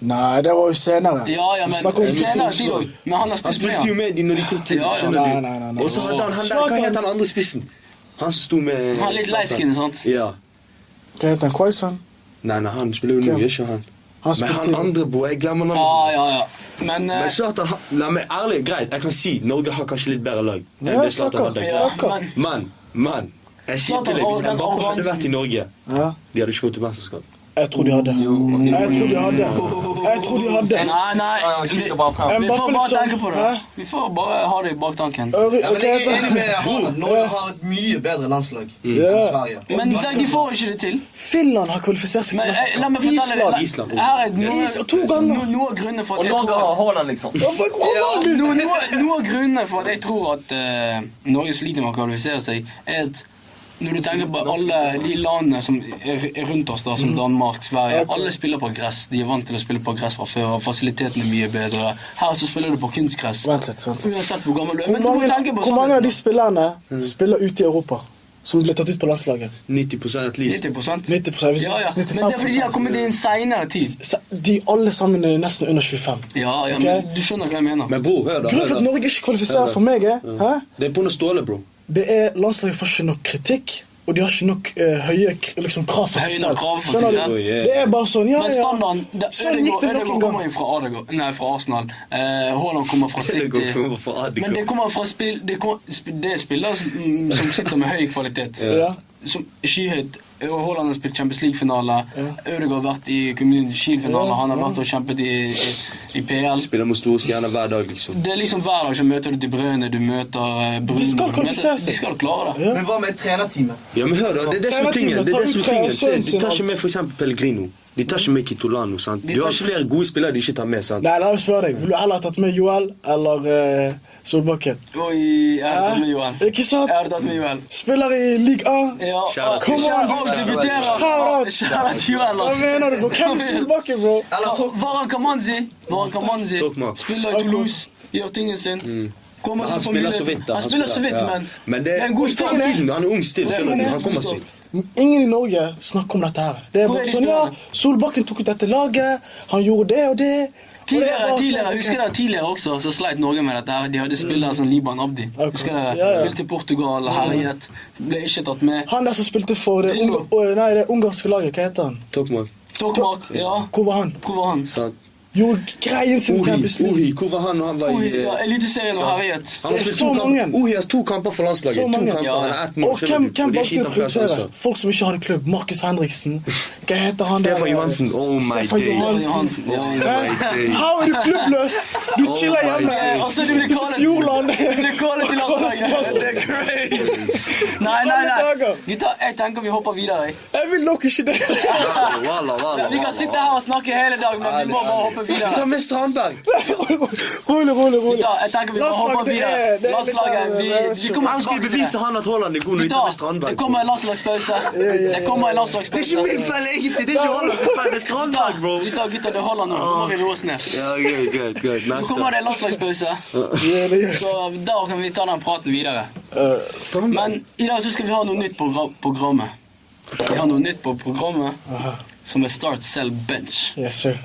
[SPEAKER 3] Nei, det var jo senere.
[SPEAKER 2] Ja, ja, men
[SPEAKER 3] Snakk om
[SPEAKER 2] senere
[SPEAKER 1] Forsberg.
[SPEAKER 2] tid òg. Men han har
[SPEAKER 1] Han
[SPEAKER 2] spilt
[SPEAKER 1] spilte jo
[SPEAKER 2] med.
[SPEAKER 1] med de når de kom til.
[SPEAKER 2] Ja, ja.
[SPEAKER 1] skjønner du?
[SPEAKER 3] Nei, nei, nei, nei.
[SPEAKER 1] Og så hadde han, han der, hva
[SPEAKER 3] Zlatan.
[SPEAKER 1] het han andre spissen? Han som sto med
[SPEAKER 2] Han er litt light-skinned, sant?
[SPEAKER 1] Ja.
[SPEAKER 3] Hva heter han? Quaison?
[SPEAKER 1] Nei, nei, han spiller jo nå,
[SPEAKER 3] Hvem?
[SPEAKER 1] gjør ikke han? Men
[SPEAKER 3] Han spilte
[SPEAKER 1] han
[SPEAKER 3] jo-
[SPEAKER 1] andre, bo, jeg glemmer
[SPEAKER 2] Ja,
[SPEAKER 1] navnet.
[SPEAKER 2] ja, ja. Men, eh,
[SPEAKER 1] Men Zlatan, han- la meg ærlig, greit, jeg kan si Norge har kanskje litt bedre lag enn
[SPEAKER 3] Ja,
[SPEAKER 1] det Zlatan hadde.
[SPEAKER 2] ja,
[SPEAKER 3] Akkurat.
[SPEAKER 2] men
[SPEAKER 1] Mann, mann, jeg sier
[SPEAKER 2] Zlatan
[SPEAKER 1] til deg,
[SPEAKER 2] har
[SPEAKER 1] hvis
[SPEAKER 2] den
[SPEAKER 1] Mbappé hadde
[SPEAKER 2] arrogansen.
[SPEAKER 1] vært i Norge,
[SPEAKER 3] Ja.
[SPEAKER 1] de hadde ikke gått til mesterskap.
[SPEAKER 3] Jeg tror de hadde. Jeg tror de hadde. Jeg tror de hadde.
[SPEAKER 2] Nei, Ah, nei.
[SPEAKER 4] Ja, ja,
[SPEAKER 2] Vi,
[SPEAKER 4] shit, det bare fram.
[SPEAKER 2] vi får
[SPEAKER 3] Mbappé
[SPEAKER 2] bare
[SPEAKER 3] liksom,
[SPEAKER 2] tenke på
[SPEAKER 3] hæ?
[SPEAKER 2] det. Vi får bare ha det i baktanken.
[SPEAKER 3] Øri-
[SPEAKER 4] Ja,
[SPEAKER 3] hva
[SPEAKER 4] men jeg er
[SPEAKER 3] heter
[SPEAKER 4] enig
[SPEAKER 3] han?
[SPEAKER 4] med Haaland. Norge har et mye bedre landslag
[SPEAKER 1] Mm.
[SPEAKER 4] enn
[SPEAKER 3] Ja.
[SPEAKER 4] Sverige.
[SPEAKER 2] Men de de får ikke det til.
[SPEAKER 3] Finland har kvalifisert seg
[SPEAKER 2] Men
[SPEAKER 3] til
[SPEAKER 2] eh, la
[SPEAKER 3] mesterskap.
[SPEAKER 2] meg fortelle
[SPEAKER 1] Island.
[SPEAKER 2] deg
[SPEAKER 3] Island.
[SPEAKER 2] la- Her er noe,
[SPEAKER 3] Island, to ganger.
[SPEAKER 2] no- noe av grunnene for
[SPEAKER 5] Og
[SPEAKER 2] at jeg
[SPEAKER 5] Norge
[SPEAKER 2] tror
[SPEAKER 5] har
[SPEAKER 2] at-
[SPEAKER 5] Haaland, liksom.
[SPEAKER 3] Ja, for- hvor var du?
[SPEAKER 2] Noe- noe- Noe av grunnene for at jeg tror at eh, Norge sliter med å kvalifisere seg, er at når du tenker på alle de landene som er er rundt oss, da,
[SPEAKER 3] Mm.
[SPEAKER 2] som Danmark, Sverige
[SPEAKER 3] Akkurat.
[SPEAKER 2] Alle spiller på gress. De er vant til å spille på gress fra før. og Fasilitetene er mye bedre. Her så spiller du på kunstgress.
[SPEAKER 3] Vent litt, vent litt.
[SPEAKER 2] Uansett hvor gammel du er.
[SPEAKER 3] Hvor
[SPEAKER 2] Men du må
[SPEAKER 3] mange,
[SPEAKER 2] tenke på
[SPEAKER 3] hvor mange av de
[SPEAKER 2] sånn
[SPEAKER 3] spillerne spiller ute i Europa? Som ble tatt ut på landslaget?
[SPEAKER 1] 90 at least.
[SPEAKER 2] 90
[SPEAKER 3] 90%, hvis-
[SPEAKER 2] Ja, ja. Men det er fordi de har kommet inn seinere tid.
[SPEAKER 3] Se, De alle sammen er nesten under 25.
[SPEAKER 2] Ja, ja,
[SPEAKER 3] Ok.
[SPEAKER 2] men du skjønner hva jeg mener.
[SPEAKER 1] Men bro, hør da,
[SPEAKER 3] Grunnen
[SPEAKER 1] hør
[SPEAKER 3] for at
[SPEAKER 1] da.
[SPEAKER 3] Norge ikke kvalifiserer for meg, er hæ?
[SPEAKER 1] Det er på noe ståle, bro.
[SPEAKER 3] Det er landslaget får ikke nok kritikk, og de har ikke nok eh, høye k- liksom, krav for
[SPEAKER 2] Høye
[SPEAKER 3] seg
[SPEAKER 2] nok
[SPEAKER 3] selv.
[SPEAKER 2] krav for
[SPEAKER 3] Skjønner
[SPEAKER 2] seg
[SPEAKER 3] du?
[SPEAKER 1] selv.
[SPEAKER 3] Det er bare sånn, ja,
[SPEAKER 2] Men
[SPEAKER 3] ja.
[SPEAKER 2] standarden da-
[SPEAKER 3] Sånn gikk
[SPEAKER 2] Ødegaard
[SPEAKER 3] det nok
[SPEAKER 2] Ødegaard
[SPEAKER 3] en
[SPEAKER 2] kommer
[SPEAKER 3] gang.
[SPEAKER 2] jo fra Ødegaard- Nei, fra Arsenal. Eh, Haaland kommer fra City.
[SPEAKER 1] Ødegaard kommer fra Ødegaard.
[SPEAKER 2] Men det kommer fra spill... Det, kom, sp- det er spillere som, mm, som sitter med høy kvalitet.
[SPEAKER 3] Ja.
[SPEAKER 2] Som skyhøyt. Og Haaland har spilt Champions League-finale.
[SPEAKER 3] Ja.
[SPEAKER 2] Ødegaard har vært i Community Shield-finale.
[SPEAKER 3] Ja,
[SPEAKER 2] Han har
[SPEAKER 3] ja.
[SPEAKER 2] vært og kjempet i, i, i PL.
[SPEAKER 1] Spiller mot store stjerner hver dag, liksom.
[SPEAKER 2] Det er liksom hver dag så møter du De Bruyne, du møter eh, Bruno
[SPEAKER 3] skal
[SPEAKER 2] du møter-
[SPEAKER 3] kvalifisere seg.
[SPEAKER 2] De skal klare det.
[SPEAKER 3] Ja.
[SPEAKER 4] Men hva med trenerteamet?
[SPEAKER 1] Ja, men hør da, det er det som er tingen. Det er det som er tingen. Se, de tar ikke med for eksempel Pellegrino. De tar ikke med Kitolano, sant.
[SPEAKER 2] De
[SPEAKER 1] Du
[SPEAKER 2] tar
[SPEAKER 1] har
[SPEAKER 2] ikke-
[SPEAKER 1] flere gode spillere de ikke tar med, sant.
[SPEAKER 3] Nei, la meg spørre deg. Vil du heller ha tatt med Joel eller eh, Solbakken?
[SPEAKER 2] Oi, jeg har tatt med Johan.
[SPEAKER 3] Ikke sant?
[SPEAKER 2] Jeg har tatt med Johan.
[SPEAKER 3] Spiller i Ligue A.
[SPEAKER 2] Ja,
[SPEAKER 1] Shout out.
[SPEAKER 2] Kom an, og
[SPEAKER 3] Shout
[SPEAKER 2] debuterer!
[SPEAKER 3] out.
[SPEAKER 2] Shout out Johan,
[SPEAKER 3] Hva
[SPEAKER 2] ass.
[SPEAKER 3] mener du? bro? Hvem er Solbakken, bro?
[SPEAKER 4] Eller
[SPEAKER 2] Ka- Varan Kamanzi, Varan Kamanzi
[SPEAKER 1] Tokmak.
[SPEAKER 2] spiller i Toulouse, gjør tingen sin. Kommer
[SPEAKER 1] Men
[SPEAKER 2] til
[SPEAKER 1] Mm. han
[SPEAKER 2] å få
[SPEAKER 1] spiller
[SPEAKER 2] mulighet-
[SPEAKER 1] så vidt, da.
[SPEAKER 2] Han spiller så vidt,
[SPEAKER 1] ja.
[SPEAKER 2] men
[SPEAKER 1] Men det
[SPEAKER 2] det er en god start.
[SPEAKER 1] Tiden, Han er ung still, skjønner du.
[SPEAKER 3] Det er
[SPEAKER 1] Han
[SPEAKER 3] en
[SPEAKER 1] kommer
[SPEAKER 2] god
[SPEAKER 1] seg
[SPEAKER 2] start.
[SPEAKER 1] hit.
[SPEAKER 3] Ingen i Norge snakker om dette her. Det er
[SPEAKER 2] Hvor er
[SPEAKER 3] bare
[SPEAKER 2] de
[SPEAKER 3] sånn, ja,
[SPEAKER 2] spillerne?
[SPEAKER 3] Solbakken tok ut dette laget, han gjorde det og det. og det er
[SPEAKER 2] Tidligere,
[SPEAKER 3] bare sånn,
[SPEAKER 2] tidligere,
[SPEAKER 3] ok.
[SPEAKER 2] husker dere tidligere også, så sleit Norge med dette. her. De hadde spillere
[SPEAKER 1] Mm.
[SPEAKER 2] som Liban Abdi.
[SPEAKER 3] Ok.
[SPEAKER 2] Husker dere?
[SPEAKER 3] Ja, ja.
[SPEAKER 2] Spilte i Portugal, herjet. Ble ikke tatt med.
[SPEAKER 3] Han der som spilte for det,
[SPEAKER 2] Drillo.
[SPEAKER 3] unga, oh, nei, det ungarske laget, hva heter han?
[SPEAKER 1] Tokmak,
[SPEAKER 2] Tokmak, ja.
[SPEAKER 3] Hvor var han?
[SPEAKER 2] Hvor var han?
[SPEAKER 1] sant.
[SPEAKER 3] Gjorde greien sin i
[SPEAKER 1] Ohi,
[SPEAKER 3] Champions League.
[SPEAKER 1] Ohi, hvor var han når han var i
[SPEAKER 2] Oi, ja,
[SPEAKER 1] eh,
[SPEAKER 2] Eliteserien og herjet.
[SPEAKER 1] Han har
[SPEAKER 3] Det er
[SPEAKER 1] spilt
[SPEAKER 3] så
[SPEAKER 1] to kamper.
[SPEAKER 3] mange.
[SPEAKER 1] Ohi har to kamper for landslaget.
[SPEAKER 3] Så
[SPEAKER 1] To
[SPEAKER 3] mange.
[SPEAKER 1] kamper,
[SPEAKER 2] Ja.
[SPEAKER 1] han har ett mål.
[SPEAKER 3] Og
[SPEAKER 1] skjønner
[SPEAKER 3] hvem,
[SPEAKER 1] du.
[SPEAKER 3] hvem
[SPEAKER 1] Og de
[SPEAKER 3] valgte
[SPEAKER 1] skiter
[SPEAKER 3] å
[SPEAKER 1] han flere
[SPEAKER 3] prioritere?
[SPEAKER 1] sjanser.
[SPEAKER 3] Folk som ikke hadde klubb. Markus Henriksen. Hva heter han
[SPEAKER 1] Stefan Johansen. Oh my
[SPEAKER 3] Stefan
[SPEAKER 1] days.
[SPEAKER 3] Johansen.
[SPEAKER 2] Johansen.
[SPEAKER 1] Oh my
[SPEAKER 3] Hæ?
[SPEAKER 1] days.
[SPEAKER 3] How er du klubbløs? Du
[SPEAKER 1] Oh
[SPEAKER 3] chiller
[SPEAKER 1] my
[SPEAKER 3] hjemme.
[SPEAKER 1] days.
[SPEAKER 2] Og så du Eh, altså, blir
[SPEAKER 3] spiser
[SPEAKER 2] kallet
[SPEAKER 3] Fjordland. Altså,
[SPEAKER 2] Blir kallet til landslaget. Det er crazy. Nei, nei, nei. Gutta, jeg tenker vi hopper videre. jeg.
[SPEAKER 3] Jeg vil nok ikke det.
[SPEAKER 1] Walla, walla, walla,
[SPEAKER 2] Vi kan sitte her og snakke hele dagen, men vi må bare hoppe
[SPEAKER 1] walla. Ta
[SPEAKER 2] videre.
[SPEAKER 1] med Strandberg.
[SPEAKER 3] Rolig, rolig, rolig.
[SPEAKER 2] Gutta, jeg tenker vi bare hopper
[SPEAKER 3] Landslaget, det er-
[SPEAKER 2] videre.
[SPEAKER 3] det er litt
[SPEAKER 2] Landslaget,
[SPEAKER 3] av-
[SPEAKER 2] vi, vi
[SPEAKER 1] Kom,
[SPEAKER 2] kommer
[SPEAKER 1] Han skal
[SPEAKER 2] tilbake til
[SPEAKER 1] bevise
[SPEAKER 2] det.
[SPEAKER 1] han at Haaland er god når de tar med
[SPEAKER 2] Gutta,
[SPEAKER 1] Strandberg.
[SPEAKER 2] det kommer en landslagspause. Det kommer en
[SPEAKER 1] Det er ikke min
[SPEAKER 2] landslagspause.
[SPEAKER 1] feil, egentlig. Det er ikke Haaland som feil, det er Strandberg, bro.
[SPEAKER 2] Gutta, gutta, det holder nå. Nå må vi roe oss ned.
[SPEAKER 1] Ja, good, good, good.
[SPEAKER 2] Nå
[SPEAKER 1] Neste.
[SPEAKER 2] kommer det en landslagspause,
[SPEAKER 3] Ja, det gjør-
[SPEAKER 2] så da kan vi ta den praten videre.
[SPEAKER 3] Eh,
[SPEAKER 1] Strandberg.
[SPEAKER 2] Men i dag så skal vi ha noe nytt på gra- programmet. Vi har noe nytt på programmet som er Start Sell Bench.
[SPEAKER 3] Yes, sir.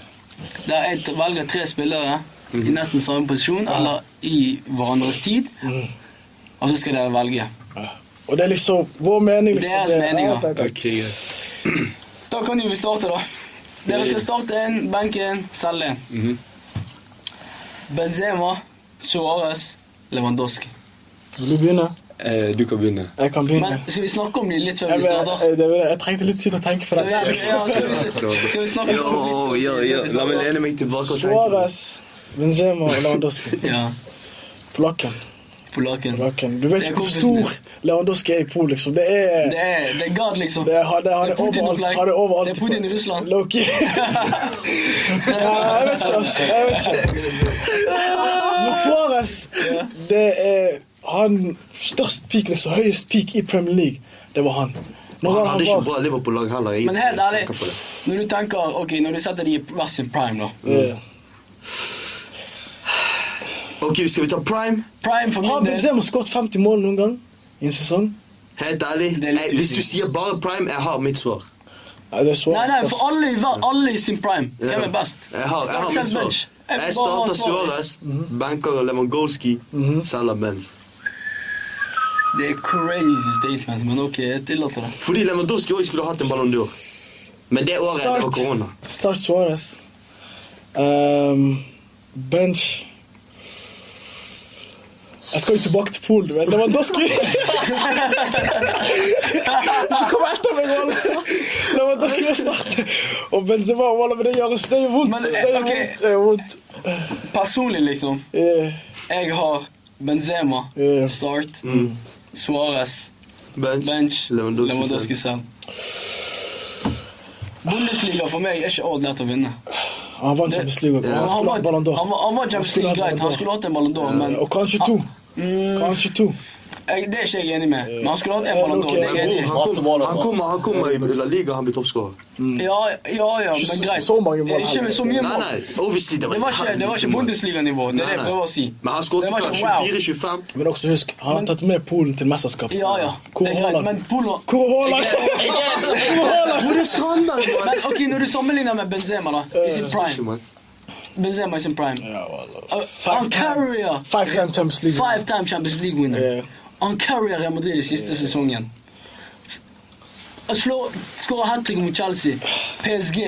[SPEAKER 2] Der jeg t- velger tre spillere i nesten samme posisjon eller i hverandres tid, og så skal dere velge.
[SPEAKER 3] Og det er liksom vår mening. Liksom,
[SPEAKER 2] Deres meninger.
[SPEAKER 3] Ja, takk.
[SPEAKER 1] Ok, greit.
[SPEAKER 2] Da kan jo vi starte, da. Dere skal starte en, benke en, selge en. Benzema, Suárez, Lewandowski.
[SPEAKER 3] Vil du begynne?
[SPEAKER 1] Eh, Du kan begynne.
[SPEAKER 3] Jeg kan begynne.
[SPEAKER 2] Men skal vi snakke om dem litt før
[SPEAKER 3] Jeg,
[SPEAKER 2] vi
[SPEAKER 3] jeg,
[SPEAKER 2] starter?
[SPEAKER 3] jeg, jeg, jeg trengte litt tid til å tenke på
[SPEAKER 2] Skal vi, ja,
[SPEAKER 3] det. liksom-
[SPEAKER 2] skal vi, skal vi snakke
[SPEAKER 1] Jo,
[SPEAKER 2] om dem
[SPEAKER 1] jo, jo. La meg lene meg tilbake og tenke.
[SPEAKER 3] Suárez, Benzema og Lewandowski.
[SPEAKER 2] Ja.
[SPEAKER 3] Plakken.
[SPEAKER 2] polakken.
[SPEAKER 3] Raken. Du vet
[SPEAKER 2] Det er
[SPEAKER 3] hur
[SPEAKER 2] kompisen
[SPEAKER 3] stor
[SPEAKER 2] min.
[SPEAKER 3] Lewandowski är i Polen liksom. Det är...
[SPEAKER 2] Det er, det er God, liksom.
[SPEAKER 3] Det är, han, han, är
[SPEAKER 2] Det är Putin
[SPEAKER 3] överallt,
[SPEAKER 2] och Black.
[SPEAKER 3] han är överallt.
[SPEAKER 2] Det är Putin i Ryssland.
[SPEAKER 3] Loki. ja, jag vet inte. alltså. Jag vet inte. Men Suarez, det är han störst peak, liksom, högst peak i Premier League. Det var han. Nu
[SPEAKER 1] Han
[SPEAKER 3] var
[SPEAKER 1] hadde
[SPEAKER 3] han
[SPEAKER 1] ikke
[SPEAKER 3] var...
[SPEAKER 1] bra Liverpool-lag heller.
[SPEAKER 2] Men helt ærlig,
[SPEAKER 1] tenker på det.
[SPEAKER 2] når du tenker Ok, når du setter de i hver sin prime, da.
[SPEAKER 3] Ja.
[SPEAKER 1] Ok, skal vi ta prime?
[SPEAKER 2] Prime for
[SPEAKER 3] Har
[SPEAKER 2] min del
[SPEAKER 3] Benzema skåret 50 mål noen gang i en sesong?
[SPEAKER 1] Helt ærlig,
[SPEAKER 2] Det er litt
[SPEAKER 1] jeg, hvis du
[SPEAKER 2] usikkert.
[SPEAKER 1] sier bare prime, jeg har mitt svar.
[SPEAKER 3] Ja, det er
[SPEAKER 2] Nei,
[SPEAKER 3] Suarez.
[SPEAKER 2] nei,
[SPEAKER 3] størst.
[SPEAKER 2] for alle, i hver- alle i sin prime.
[SPEAKER 1] Ja.
[SPEAKER 2] Hvem er best?
[SPEAKER 1] Jeg har, jeg
[SPEAKER 2] Start
[SPEAKER 1] har mitt
[SPEAKER 2] selv
[SPEAKER 1] svar.
[SPEAKER 2] bench. Jeg
[SPEAKER 1] Jeg
[SPEAKER 2] vil bare ha
[SPEAKER 1] starter
[SPEAKER 2] svaret.
[SPEAKER 1] Suarez, banker Lewandowski, selger Benz.
[SPEAKER 2] Det er crazy statement, men ok, jeg tillater det.
[SPEAKER 1] Fordi Lewandowski også skulle hatt en Ballon d'Or. Men det året det var
[SPEAKER 3] Start.
[SPEAKER 1] korona.
[SPEAKER 3] Start Suarez. Ehm, bench. Jeg skal jo tilbake til Polen, men det var Doski. Han kom etter meg, Walla. Det var Doski å starte. Og Benzema, Walla, men det gjør oss, det gjør vondt.
[SPEAKER 2] Men, eh,
[SPEAKER 3] Det gjør
[SPEAKER 2] ok.
[SPEAKER 3] vondt, det gjør vondt.
[SPEAKER 2] Personlig, liksom,
[SPEAKER 3] Eh,
[SPEAKER 2] jeg har Benzema,
[SPEAKER 3] Ja. Mm.
[SPEAKER 2] start, Suarez,
[SPEAKER 1] Bench.
[SPEAKER 2] bench,
[SPEAKER 1] Lewandowski
[SPEAKER 2] Lewandowski selv. Bundesliga for meg er ikke odd lett å vinne.
[SPEAKER 3] Han vant
[SPEAKER 2] Det-
[SPEAKER 3] Champions League,
[SPEAKER 1] Ja.
[SPEAKER 3] han skulle hatt Ballon d'Or.
[SPEAKER 2] han var- han var Champions
[SPEAKER 3] skulle
[SPEAKER 2] League,
[SPEAKER 3] hatt
[SPEAKER 2] greit. Han
[SPEAKER 3] Ballon d'Or.
[SPEAKER 2] skulle hatt en Ballon d'Or, men
[SPEAKER 3] Og kanskje to.
[SPEAKER 2] Ah, mm.
[SPEAKER 3] Kanskje to.
[SPEAKER 2] jeg, det er ikke jeg enig med. Men han skulle hatt en
[SPEAKER 3] Ja,
[SPEAKER 2] Ballon d'Or.
[SPEAKER 3] ok.
[SPEAKER 2] det er
[SPEAKER 1] Men
[SPEAKER 2] jeg
[SPEAKER 1] bror,
[SPEAKER 2] enig i.
[SPEAKER 1] han
[SPEAKER 5] Masse mål,
[SPEAKER 1] kom- Han
[SPEAKER 5] da.
[SPEAKER 1] kommer han kommer i La Liga, han blir toppskårer.
[SPEAKER 2] Ja, ja, ja, men
[SPEAKER 3] Mm. Så-
[SPEAKER 2] greit.
[SPEAKER 3] så mange mål.
[SPEAKER 2] Ikke med så mye
[SPEAKER 1] Nei,
[SPEAKER 2] mål.
[SPEAKER 1] nei, obviously det var
[SPEAKER 2] Det var ikke, det var ikke Bundesliga-nivå. Det er det jeg prøver å si.
[SPEAKER 1] Men han skåret
[SPEAKER 2] Det var
[SPEAKER 1] hva,
[SPEAKER 2] ikke- wow.
[SPEAKER 1] 24-25.
[SPEAKER 3] Men også husk, han har tatt med Polen til mesterskapet.
[SPEAKER 2] Ja, ja.
[SPEAKER 3] Hvor
[SPEAKER 2] Det er greit,
[SPEAKER 3] Haaland?
[SPEAKER 2] men Polo
[SPEAKER 3] Hvor Haaland? Hvor Haaland?
[SPEAKER 1] Hvor er Strandberg,
[SPEAKER 2] Men ok, når du sammenligner med Benzema, da. I sin prime.
[SPEAKER 1] mann?
[SPEAKER 2] Benzema i sin prime.
[SPEAKER 3] Eh, Ja, Walla.
[SPEAKER 2] Uh,
[SPEAKER 3] Five
[SPEAKER 2] on carrier.
[SPEAKER 3] time- Five time Champions League.
[SPEAKER 2] Five time Champions League winner.
[SPEAKER 3] Yeah.
[SPEAKER 2] On carrier Real Madrid i siste sesongen. Å slå Skåre hat trick mot Chelsea. PSG.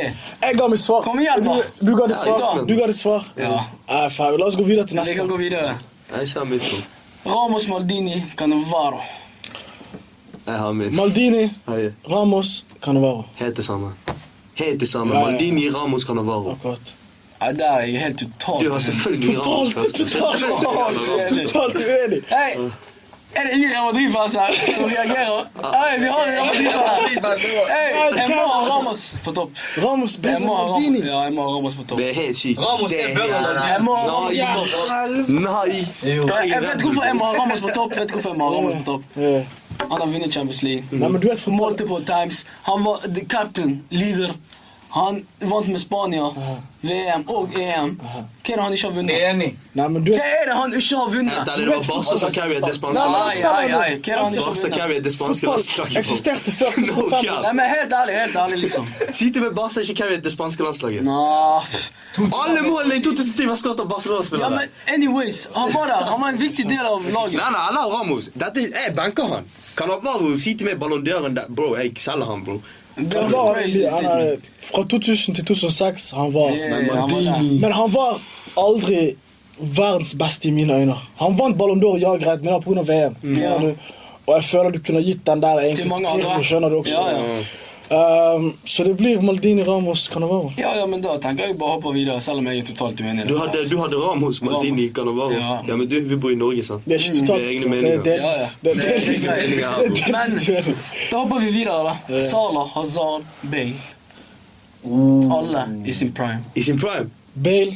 [SPEAKER 3] Jeg ga mitt svar.
[SPEAKER 2] Kom igjen, da.
[SPEAKER 3] Du, du ga ditt
[SPEAKER 1] Ja,
[SPEAKER 3] svar.
[SPEAKER 1] da.
[SPEAKER 3] Du ga ditt svar.
[SPEAKER 2] Ja.
[SPEAKER 3] Eh, faen, la oss gå videre til
[SPEAKER 2] Vi kan
[SPEAKER 3] neste.
[SPEAKER 2] gå videre.
[SPEAKER 1] Jeg sa mitt svar.
[SPEAKER 2] Ramos Maldini Cannavaro.
[SPEAKER 1] Jeg har mitt.
[SPEAKER 3] Maldini,
[SPEAKER 1] Hei.
[SPEAKER 3] Ramos, Cannavaro.
[SPEAKER 1] Helt det samme. Helt det samme.
[SPEAKER 3] Ja, ja.
[SPEAKER 1] Maldini, Ramos, Cannavaro.
[SPEAKER 3] Akkurat.
[SPEAKER 2] Ja, der er jeg helt totalt
[SPEAKER 1] Du har selvfølgelig Ramos.
[SPEAKER 3] Totalt,
[SPEAKER 1] først.
[SPEAKER 3] totalt,
[SPEAKER 2] uenig.
[SPEAKER 3] totalt uenig.
[SPEAKER 2] Hei! Er det ingen Real Madrid-fans her som reagerer? Hei, vi har en Real Madrid-fan her! Hei, jeg må ha Ramos på topp.
[SPEAKER 3] Ramos
[SPEAKER 2] Jeg
[SPEAKER 3] bedre enn
[SPEAKER 2] må ha Ramos,
[SPEAKER 3] Maldini.
[SPEAKER 2] ja, jeg må ha Ramos på topp.
[SPEAKER 1] Det er helt sykt.
[SPEAKER 4] Ramos
[SPEAKER 1] Det
[SPEAKER 4] er bedre enn
[SPEAKER 2] Jeg må ha Ramos
[SPEAKER 1] Nei,
[SPEAKER 2] på topp.
[SPEAKER 1] Nei.
[SPEAKER 2] Jeg jeg vet hvorfor jeg må ha Ramos på topp. Vet hvorfor jeg må ha Ramos på topp.
[SPEAKER 3] Ja.
[SPEAKER 2] Han har vunnet Champions League.
[SPEAKER 3] Nei, men du vet fotball.
[SPEAKER 2] Multiple times. Han var the captain, leader. Han vant med Spania, VM og EM. Hva er det han ikke har vunnet?
[SPEAKER 4] Enig.
[SPEAKER 3] Nei, men du
[SPEAKER 2] Hva
[SPEAKER 3] vet...
[SPEAKER 2] er det han ikke har
[SPEAKER 1] Helt
[SPEAKER 2] vunnet?
[SPEAKER 1] ærlig, det var Barca som carried det spanske
[SPEAKER 2] Nei,
[SPEAKER 1] laget.
[SPEAKER 2] nei, nei. Hva er det han ikke
[SPEAKER 1] Barca
[SPEAKER 2] har vunnet?
[SPEAKER 1] carried det spanske
[SPEAKER 3] Fotball
[SPEAKER 1] landslaget.
[SPEAKER 3] eksisterte før
[SPEAKER 1] No
[SPEAKER 3] 2005.
[SPEAKER 1] cap.
[SPEAKER 2] Nei, men helt ærlig, helt ærlig, liksom.
[SPEAKER 1] Si til meg Barca ikke carried det spanske landslaget.
[SPEAKER 2] Nå, pff.
[SPEAKER 1] Alle målene i 2010 var skåret av
[SPEAKER 2] Ja, men
[SPEAKER 1] Barcelona-spillere.
[SPEAKER 2] anyways, han var der. Han var en viktig del av laget.
[SPEAKER 1] Nei, nei, han har Ramos. Dette, jeg banker han. Kan han bare si til meg Ballon d'Oren der- Bro, jeg selger han, bro.
[SPEAKER 2] Det
[SPEAKER 3] Han
[SPEAKER 2] var
[SPEAKER 3] var,
[SPEAKER 2] en crazy
[SPEAKER 3] han er,
[SPEAKER 2] statement.
[SPEAKER 3] fra 2000 til 2006, han var...
[SPEAKER 2] Ja, ja, ja, han var der.
[SPEAKER 3] Men han var aldri verdens beste i mine øyne. Han vant Ballon d'Or, ja greit, men det var på grunn av VM.
[SPEAKER 2] Mm. Ja.
[SPEAKER 3] Du- Og jeg føler du kunne gitt den der egentlig
[SPEAKER 2] Til mange
[SPEAKER 3] Pirlo,
[SPEAKER 2] andre.
[SPEAKER 3] skjønner du også.
[SPEAKER 2] Ja, ja.
[SPEAKER 3] Ehm, så det blir Maldini, Ramos, Cannavaro.
[SPEAKER 2] Ja, ja, men da tenker jeg bare hoppe videre, selv om jeg er totalt uenig. i
[SPEAKER 1] Du
[SPEAKER 2] det.
[SPEAKER 1] hadde, du hadde Ramos, Maldini,
[SPEAKER 2] Ramos.
[SPEAKER 1] Cannavaro.
[SPEAKER 2] Ja.
[SPEAKER 1] Ja, men du, vi bor i Norge, sant?
[SPEAKER 3] Det er ikke
[SPEAKER 1] Mm.
[SPEAKER 3] totalt.
[SPEAKER 1] Det er egne
[SPEAKER 3] det
[SPEAKER 1] meninger.
[SPEAKER 3] er delvis.
[SPEAKER 2] Ja, ja.
[SPEAKER 3] Det er
[SPEAKER 2] Det er
[SPEAKER 3] delvis.
[SPEAKER 2] egne
[SPEAKER 3] Det
[SPEAKER 1] meninger,
[SPEAKER 3] er
[SPEAKER 1] bro.
[SPEAKER 2] Men
[SPEAKER 3] delvis uenig.
[SPEAKER 2] da hopper vi videre, da. Salah, Hazard, Bale.
[SPEAKER 1] Oh.
[SPEAKER 2] Alle i sin prime.
[SPEAKER 1] I sin prime.
[SPEAKER 3] Bale.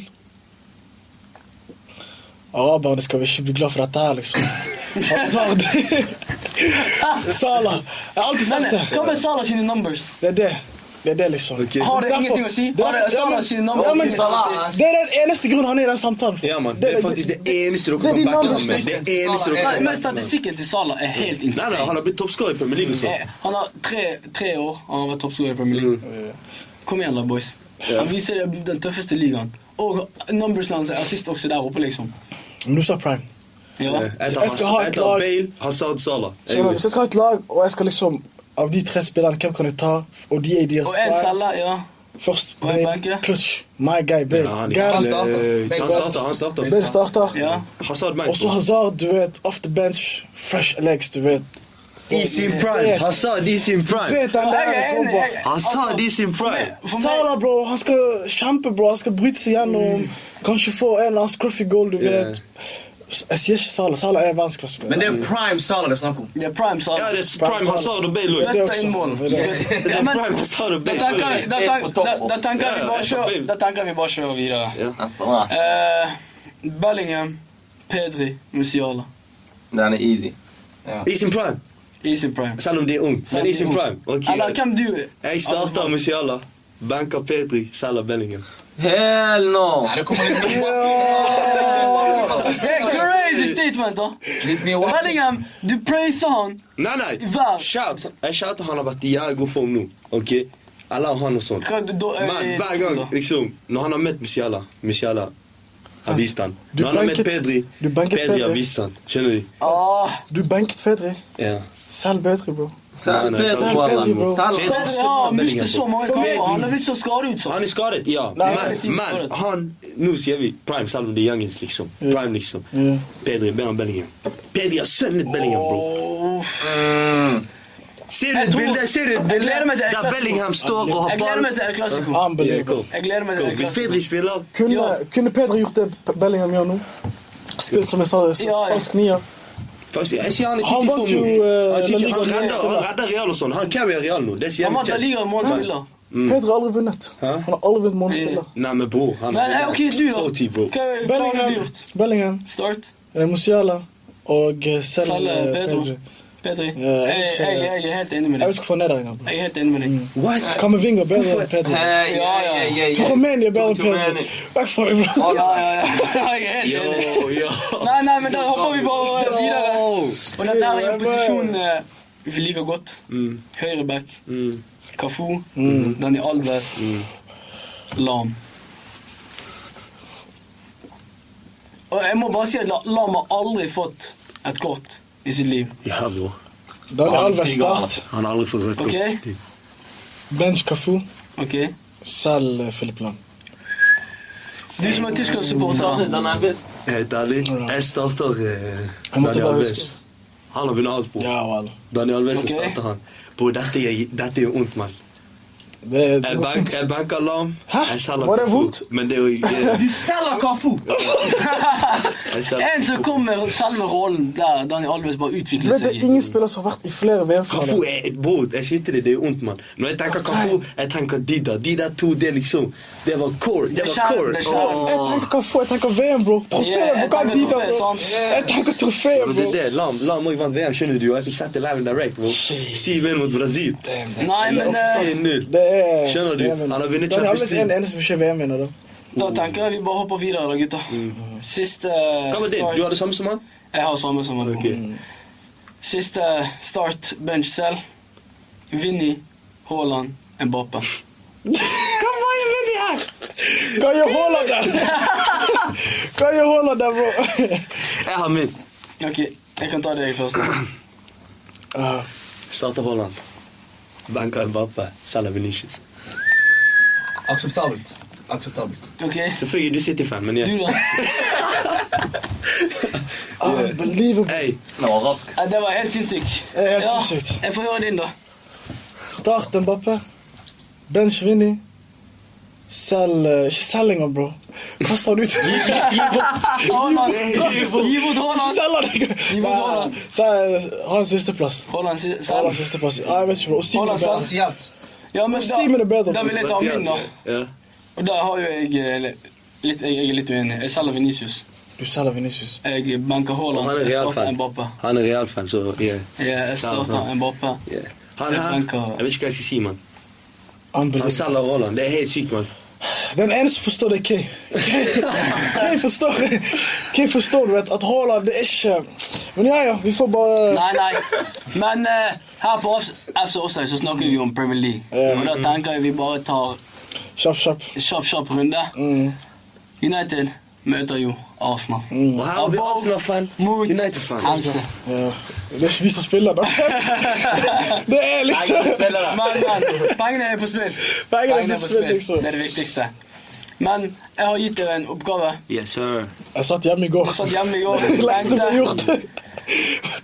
[SPEAKER 3] Araberne skal vi ikke bli glad for dette her, liksom. Hazard. Salah. Jeg har alltid
[SPEAKER 2] Men
[SPEAKER 3] sagt det.
[SPEAKER 2] hva med Salah sine numbers?
[SPEAKER 3] Det er det. Det er det, liksom.
[SPEAKER 2] Har det
[SPEAKER 3] Derfor-
[SPEAKER 2] ingenting å si? Har det
[SPEAKER 3] derfor- ja,
[SPEAKER 2] Salah
[SPEAKER 3] men-
[SPEAKER 2] sine
[SPEAKER 3] ja, men-
[SPEAKER 2] numbers?
[SPEAKER 3] Det er den eneste grunnen han er i den samtalen.
[SPEAKER 1] Ja, man. Det er faktisk det eneste dere
[SPEAKER 3] det er
[SPEAKER 1] kan
[SPEAKER 3] de
[SPEAKER 1] backe ham
[SPEAKER 3] numbers,
[SPEAKER 1] med. Det eneste dere
[SPEAKER 2] Nei,
[SPEAKER 1] kan
[SPEAKER 2] Men statistikken til Salah er helt
[SPEAKER 1] Nei, nei, han
[SPEAKER 2] insane.
[SPEAKER 1] har blitt toppskårer i Premier League. Også.
[SPEAKER 2] Eh, Han har tre, tre år, og han har vært toppskårer i Premier League. Kom igjen, da, boys. Han viser den tøffeste ligaen. Og numbersene hans er assist også der oppe, liksom.
[SPEAKER 3] Men du sa prime.
[SPEAKER 2] Ja.
[SPEAKER 1] Eh, Jeg
[SPEAKER 3] Jeg skal ha
[SPEAKER 1] tar-
[SPEAKER 3] et
[SPEAKER 1] jeg tar
[SPEAKER 3] lag.
[SPEAKER 1] Bale, Hazard, Salah.
[SPEAKER 3] Så, hvis jeg skal ha et lag, og jeg skal liksom Av de tre spillerne, hvem kan jeg ta? Og de er i deres
[SPEAKER 2] Og en
[SPEAKER 3] prime.
[SPEAKER 2] Salah, ja.
[SPEAKER 3] Først
[SPEAKER 2] og en
[SPEAKER 3] Bale,
[SPEAKER 2] banke.
[SPEAKER 3] Clutch. My guy, Bale.
[SPEAKER 1] Ja, han-
[SPEAKER 3] Gareth.
[SPEAKER 1] han
[SPEAKER 4] starter.
[SPEAKER 1] starter. Han starter. Han starter.
[SPEAKER 3] Bale starter.
[SPEAKER 2] ja.
[SPEAKER 1] Hazard meg.
[SPEAKER 3] Og så Hazard, du vet. Off the bench. Fresh legs, du vet.
[SPEAKER 1] I sin prime. Hazard i sin
[SPEAKER 3] Du
[SPEAKER 1] prime.
[SPEAKER 3] vet den
[SPEAKER 2] Jeg
[SPEAKER 3] der
[SPEAKER 2] er enig,
[SPEAKER 3] komboen.
[SPEAKER 2] jeg-
[SPEAKER 1] Hazard i sin prime.
[SPEAKER 2] For meg,
[SPEAKER 3] Salah, bro, han
[SPEAKER 2] Mm.
[SPEAKER 3] skal kjempe, bro. Han skal bryte seg gjennom. Kanskje få en eller annen scruffy goal, du
[SPEAKER 1] Ja.
[SPEAKER 3] vet. Jeg sier ikke Sala. Sala er
[SPEAKER 5] Men
[SPEAKER 3] verdensklasse.
[SPEAKER 5] det er prime Salah det er snakk om.
[SPEAKER 2] Det er prime sa.
[SPEAKER 1] Ja, det er Prime Hazard og Bale.
[SPEAKER 3] Det
[SPEAKER 1] Lloyd.
[SPEAKER 3] er
[SPEAKER 2] Rett inn mål.
[SPEAKER 3] Det er
[SPEAKER 1] Det
[SPEAKER 2] Ja,
[SPEAKER 1] er
[SPEAKER 2] men,
[SPEAKER 1] Prime Hazard og
[SPEAKER 2] da
[SPEAKER 1] Bale.
[SPEAKER 2] tenker
[SPEAKER 1] Lloyd.
[SPEAKER 2] vi- da tenk- da- da tenker vi
[SPEAKER 1] Ja, ja,
[SPEAKER 2] bare kjøre
[SPEAKER 1] Bale.
[SPEAKER 2] da tenker vi bare kjøre videre.
[SPEAKER 1] Ja.
[SPEAKER 6] That's the last.
[SPEAKER 2] Eh, Bellingham, Pedri, Musiala.
[SPEAKER 6] That ain't easy.
[SPEAKER 1] Is in prime,
[SPEAKER 2] Easy prime.
[SPEAKER 1] selv om de er ung.
[SPEAKER 2] Selv
[SPEAKER 1] Men
[SPEAKER 2] om
[SPEAKER 1] is
[SPEAKER 2] de er
[SPEAKER 1] in
[SPEAKER 2] ung.
[SPEAKER 1] prime. Ok.
[SPEAKER 2] Eller hvem du
[SPEAKER 1] Jeg starter med Sjala. Banker Petri, selger Bellingham.
[SPEAKER 6] Hell no.
[SPEAKER 5] Nei, det kommer litt mye
[SPEAKER 2] Det er crazy statement, da.
[SPEAKER 5] Litt mye waffle.
[SPEAKER 2] Bellingham, du praiser han.
[SPEAKER 1] Nei, nei.
[SPEAKER 2] Hva?
[SPEAKER 1] Shout. Jeg shouter han har vært i jævlig god form nå. Ok? Eller han og sånn.
[SPEAKER 2] Hva du da
[SPEAKER 1] Men hver gang, liksom, når han har møtt Musiala, Musiala har vist han.
[SPEAKER 3] Du
[SPEAKER 1] Når han har møtt
[SPEAKER 3] banket-
[SPEAKER 1] Pedri,
[SPEAKER 3] du banket
[SPEAKER 1] Pedri har
[SPEAKER 3] Pedri.
[SPEAKER 1] vist han. Skjønner du?
[SPEAKER 2] Ah,
[SPEAKER 3] Du banket Pedri.
[SPEAKER 1] Ja.
[SPEAKER 3] Selv Pedri, bro.
[SPEAKER 1] Nei,
[SPEAKER 6] Sal
[SPEAKER 1] nei,
[SPEAKER 6] Pedro,
[SPEAKER 1] Sal
[SPEAKER 3] Pedro, bro.
[SPEAKER 6] wallah. Sal
[SPEAKER 1] Sal-
[SPEAKER 2] Pedri har mistet så mange kamper. Han har blitt så skadet ut
[SPEAKER 1] Han
[SPEAKER 2] sånn.
[SPEAKER 1] er skadet, ja.
[SPEAKER 3] Nei,
[SPEAKER 1] men,
[SPEAKER 2] han er
[SPEAKER 1] men
[SPEAKER 2] skadet.
[SPEAKER 1] han Nå sier vi prime, selv om det er youngins, liksom. Prime, liksom.
[SPEAKER 3] Ja.
[SPEAKER 1] Pedri bedre enn Bellingham. Pedri har sønnet Bellingham, bro. Ser du
[SPEAKER 2] Jeg
[SPEAKER 1] et
[SPEAKER 2] tror-
[SPEAKER 1] bilde ser du et
[SPEAKER 2] Jeg
[SPEAKER 1] bilde
[SPEAKER 2] gleder meg til El
[SPEAKER 1] der
[SPEAKER 2] Clasico.
[SPEAKER 1] Bellingham står og har
[SPEAKER 2] Jeg gleder meg til El Clasico.
[SPEAKER 1] Ja,
[SPEAKER 3] Unbelievable.
[SPEAKER 1] kom.
[SPEAKER 2] Jeg gleder meg til
[SPEAKER 1] Kom,
[SPEAKER 2] El
[SPEAKER 1] Hvis
[SPEAKER 2] Clasico.
[SPEAKER 1] Pedri spiller
[SPEAKER 3] Kunne,
[SPEAKER 2] Ja.
[SPEAKER 3] kunne Pedri gjort det P- Bellingham gjør nå? Spill som jeg sa, s-
[SPEAKER 2] Ja, ja.
[SPEAKER 3] falsk nier.
[SPEAKER 1] Faktisk, jeg sier han er
[SPEAKER 3] Han
[SPEAKER 1] titt i
[SPEAKER 3] vant
[SPEAKER 1] form
[SPEAKER 3] jo,
[SPEAKER 1] nå.
[SPEAKER 3] eh,
[SPEAKER 1] Han er titt i-
[SPEAKER 3] La
[SPEAKER 1] Han
[SPEAKER 3] Liga
[SPEAKER 1] redder-
[SPEAKER 3] neste,
[SPEAKER 1] han
[SPEAKER 3] da.
[SPEAKER 1] redder Real og sånn. Han carrier Real nå. Det sier
[SPEAKER 2] Han
[SPEAKER 1] vi
[SPEAKER 2] vant La Liga mot spiller.
[SPEAKER 3] Pedri har aldri vunnet.
[SPEAKER 1] Hæ?
[SPEAKER 3] Han har aldri vunnet målspiller.
[SPEAKER 1] Nei, men bror han
[SPEAKER 2] Men eh, ok, du, da.
[SPEAKER 1] OT, bro.
[SPEAKER 2] Hva hva har du
[SPEAKER 3] Bellingham,
[SPEAKER 2] gjort?
[SPEAKER 3] Bellingham
[SPEAKER 2] eh, Start.
[SPEAKER 3] eh, Musiala og eh, Sel
[SPEAKER 2] Salle,
[SPEAKER 3] eh,
[SPEAKER 2] Pedro.
[SPEAKER 3] Pedri.
[SPEAKER 2] Pedri.
[SPEAKER 3] Ja, eh, jeg
[SPEAKER 2] Jeg
[SPEAKER 3] vet ikke-
[SPEAKER 2] jeg- jeg er helt enig med
[SPEAKER 3] Jeg vet
[SPEAKER 2] deg.
[SPEAKER 3] ikke hvorfor han er der engang.
[SPEAKER 2] Jeg er helt enig med
[SPEAKER 3] Mm.
[SPEAKER 2] deg.
[SPEAKER 1] What?
[SPEAKER 3] Kamavinga er bedre enn Pedri.
[SPEAKER 2] Ja,
[SPEAKER 6] Hey, yeah,
[SPEAKER 2] ja.
[SPEAKER 6] yeah, yeah, yeah.
[SPEAKER 3] Romania er bedre enn Pedri.
[SPEAKER 6] Romania.
[SPEAKER 3] Vekk fra meg,
[SPEAKER 2] Ja,
[SPEAKER 3] bro.
[SPEAKER 2] ja, ja. Jeg er
[SPEAKER 1] Yo,
[SPEAKER 2] helt enig.
[SPEAKER 1] yo.
[SPEAKER 2] Nei, nei, men da hopper vi bare eh, videre.
[SPEAKER 1] Yo.
[SPEAKER 2] Og den der i posisjon eh, vi liker godt. Høyreback,
[SPEAKER 1] Mm.
[SPEAKER 2] Kafu, Dani Alves, Lam. Og jeg må bare si at La- Lam har aldri fått et kort i sitt liv.
[SPEAKER 1] Ja, bror.
[SPEAKER 3] Daniel Alves
[SPEAKER 6] Kamavinga.
[SPEAKER 3] start.
[SPEAKER 1] Han har aldri fått rødt
[SPEAKER 2] Ok?
[SPEAKER 3] Bench Cafu.
[SPEAKER 2] ok?
[SPEAKER 3] Sel eh, Philipp Lahm.
[SPEAKER 2] Du som er Tyskland-supporter, da.
[SPEAKER 6] Done that bitch.
[SPEAKER 1] Helt ærlig, jeg starter eh,
[SPEAKER 3] Jeg måtte
[SPEAKER 1] Daniel
[SPEAKER 3] bare
[SPEAKER 1] Alves.
[SPEAKER 3] huske.
[SPEAKER 1] Han har vunnet alt, bror.
[SPEAKER 3] Ja, well.
[SPEAKER 1] Daniel Alves
[SPEAKER 2] Ok.
[SPEAKER 1] starter han. Bror, dette gjør dette gjør vondt, mann.
[SPEAKER 3] Det er
[SPEAKER 1] Jeg bank- jeg banker alarm.
[SPEAKER 3] Hæ?
[SPEAKER 1] Jeg selger
[SPEAKER 3] Var det
[SPEAKER 1] Kafu.
[SPEAKER 3] vondt?
[SPEAKER 1] Men det er jo
[SPEAKER 5] Du
[SPEAKER 1] jeg-
[SPEAKER 5] selger Kafu!
[SPEAKER 1] jeg selger-
[SPEAKER 2] En som kom med selve rollen der Dani Alves bare
[SPEAKER 3] Vet
[SPEAKER 2] utviklet
[SPEAKER 3] du,
[SPEAKER 2] seg i.
[SPEAKER 3] ingen spiller som har vært i flere
[SPEAKER 1] Kafu
[SPEAKER 3] VM-finaler.
[SPEAKER 1] er bror, jeg sitter det, det er ondt, mann. Når jeg tenker Kafu, jeg tenker Dida. Dida to, det er liksom Det var core. Det
[SPEAKER 2] Det er
[SPEAKER 1] var
[SPEAKER 2] kjær-
[SPEAKER 1] core.
[SPEAKER 2] det er kjær-
[SPEAKER 1] Åh.
[SPEAKER 3] Jeg tenker Cafu, jeg tenker VM, bro. Trofé,
[SPEAKER 2] Yeah,
[SPEAKER 3] bro.
[SPEAKER 2] jeg
[SPEAKER 3] Hva
[SPEAKER 2] tenker
[SPEAKER 3] er dita,
[SPEAKER 2] trofé,
[SPEAKER 1] sånn,
[SPEAKER 3] bro?
[SPEAKER 2] sant?
[SPEAKER 3] Jeg tenker trofé,
[SPEAKER 1] Og det
[SPEAKER 3] bro.
[SPEAKER 1] er det, Lam Lam òg vant VM, skjønner du. og Jeg fikk sett det live and direct. bro. 7-1 mot Brasil.
[SPEAKER 2] Nei,
[SPEAKER 1] sånn.
[SPEAKER 2] men eh,
[SPEAKER 1] 6-0.
[SPEAKER 3] Det er
[SPEAKER 1] Skjønner du?
[SPEAKER 3] det er en-
[SPEAKER 1] Han har vunnet
[SPEAKER 3] Daniel
[SPEAKER 1] Champions
[SPEAKER 3] Alves er
[SPEAKER 1] League.
[SPEAKER 3] den eneste som ikke er VM-vinner, da.
[SPEAKER 2] da tenker jeg vi bare hopper videre, da, gutter. Siste
[SPEAKER 1] Hva var din? Du har det
[SPEAKER 2] start.
[SPEAKER 1] samme som han?
[SPEAKER 2] Jeg har samme som han.
[SPEAKER 1] Ok.
[SPEAKER 2] Siste start bench selv. Vinny, Haaland, Mbappe.
[SPEAKER 3] Hva gjør Haaland der? Hva gjør Haaland der, bro?
[SPEAKER 1] Jeg har min.
[SPEAKER 2] Ok, jeg kan ta deg først.
[SPEAKER 3] Ah,
[SPEAKER 1] Starter Haaland. Banker Mbappe. Selger Venicius.
[SPEAKER 4] Akseptabelt. Akseptabelt.
[SPEAKER 2] Ok,
[SPEAKER 1] Selvfølgelig du City-fan, men ja.
[SPEAKER 2] du da?
[SPEAKER 3] ah, Unbelievable.
[SPEAKER 1] Hey,
[SPEAKER 6] No, Rask.
[SPEAKER 2] Ja, Det var helt sinnssykt.
[SPEAKER 3] Det er helt
[SPEAKER 2] Ja,
[SPEAKER 3] sinnssykt.
[SPEAKER 2] jeg får høre din, da.
[SPEAKER 3] Start Mbappé. Bench Vinny. Selg eh, Ikke selg han, bro. Kast han ut.
[SPEAKER 2] Haaland, gi bort Haaland.
[SPEAKER 3] Selg han ikke.
[SPEAKER 2] Gi bort Haaland.
[SPEAKER 3] Ha en sisteplass.
[SPEAKER 2] Haaland si-
[SPEAKER 3] Ha
[SPEAKER 2] selv.
[SPEAKER 3] en sisteplass. Ah, jeg vet ikke, bro. Osimhen
[SPEAKER 2] Haaland
[SPEAKER 3] er bedre.
[SPEAKER 2] selv.
[SPEAKER 4] Spesielt.
[SPEAKER 2] Ja, men
[SPEAKER 3] Si meg det bedre,
[SPEAKER 2] da, da
[SPEAKER 3] bro.
[SPEAKER 2] vil jeg ta min, da.
[SPEAKER 1] Ja.
[SPEAKER 2] Og da har jo jeg eh, li- litt, jeg, jeg er litt uenig. Jeg selger Venicius.
[SPEAKER 3] Du selger Vinicius.
[SPEAKER 2] Jeg banker
[SPEAKER 1] Og Oh, han
[SPEAKER 2] Haaland.
[SPEAKER 1] er
[SPEAKER 2] Jeg starter
[SPEAKER 1] Real-fan.
[SPEAKER 2] Mbappe.
[SPEAKER 1] Han er Real-fan, så ja.
[SPEAKER 2] Ja, Jeg
[SPEAKER 3] altså.
[SPEAKER 2] starter Mbappe.
[SPEAKER 1] ja. Han her
[SPEAKER 2] Banker-
[SPEAKER 1] Jeg vet ikke hva jeg skal si, mann. Han
[SPEAKER 3] Unbelievable.
[SPEAKER 1] selger Haaland. Det er helt sykt, mann.
[SPEAKER 3] Den eneste som forstår det, er Kay. Kay forstår, Kay forstår du vet, at Haaland det er ikke Men ja, ja, vi får bare
[SPEAKER 2] Nei, nei. Men eh, her på Offs- FC Offside så snakker vi om Premier League.
[SPEAKER 3] Ja.
[SPEAKER 2] Og da tenker jeg vi bare tar
[SPEAKER 3] Kjapp, kjapp.
[SPEAKER 2] en kjapp, kjapp runde.
[SPEAKER 3] Mm.
[SPEAKER 2] United møter jo Arsenal.
[SPEAKER 1] Og her har vi Arsenal-fan.
[SPEAKER 2] Mot
[SPEAKER 1] United-fan.
[SPEAKER 2] Helse.
[SPEAKER 3] Ja. Det er ikke vi som spiller, da. det er liksom
[SPEAKER 2] Men, men, pengene er på spill.
[SPEAKER 3] Pengene er på spill, liksom.
[SPEAKER 2] Det er det viktigste. Men jeg har gitt dere en oppgave.
[SPEAKER 1] Yes, sir.
[SPEAKER 3] Jeg satt hjemme i går.
[SPEAKER 2] Jeg satt hjemme i går
[SPEAKER 3] Det lengste
[SPEAKER 2] tenkte-
[SPEAKER 3] vi har gjort.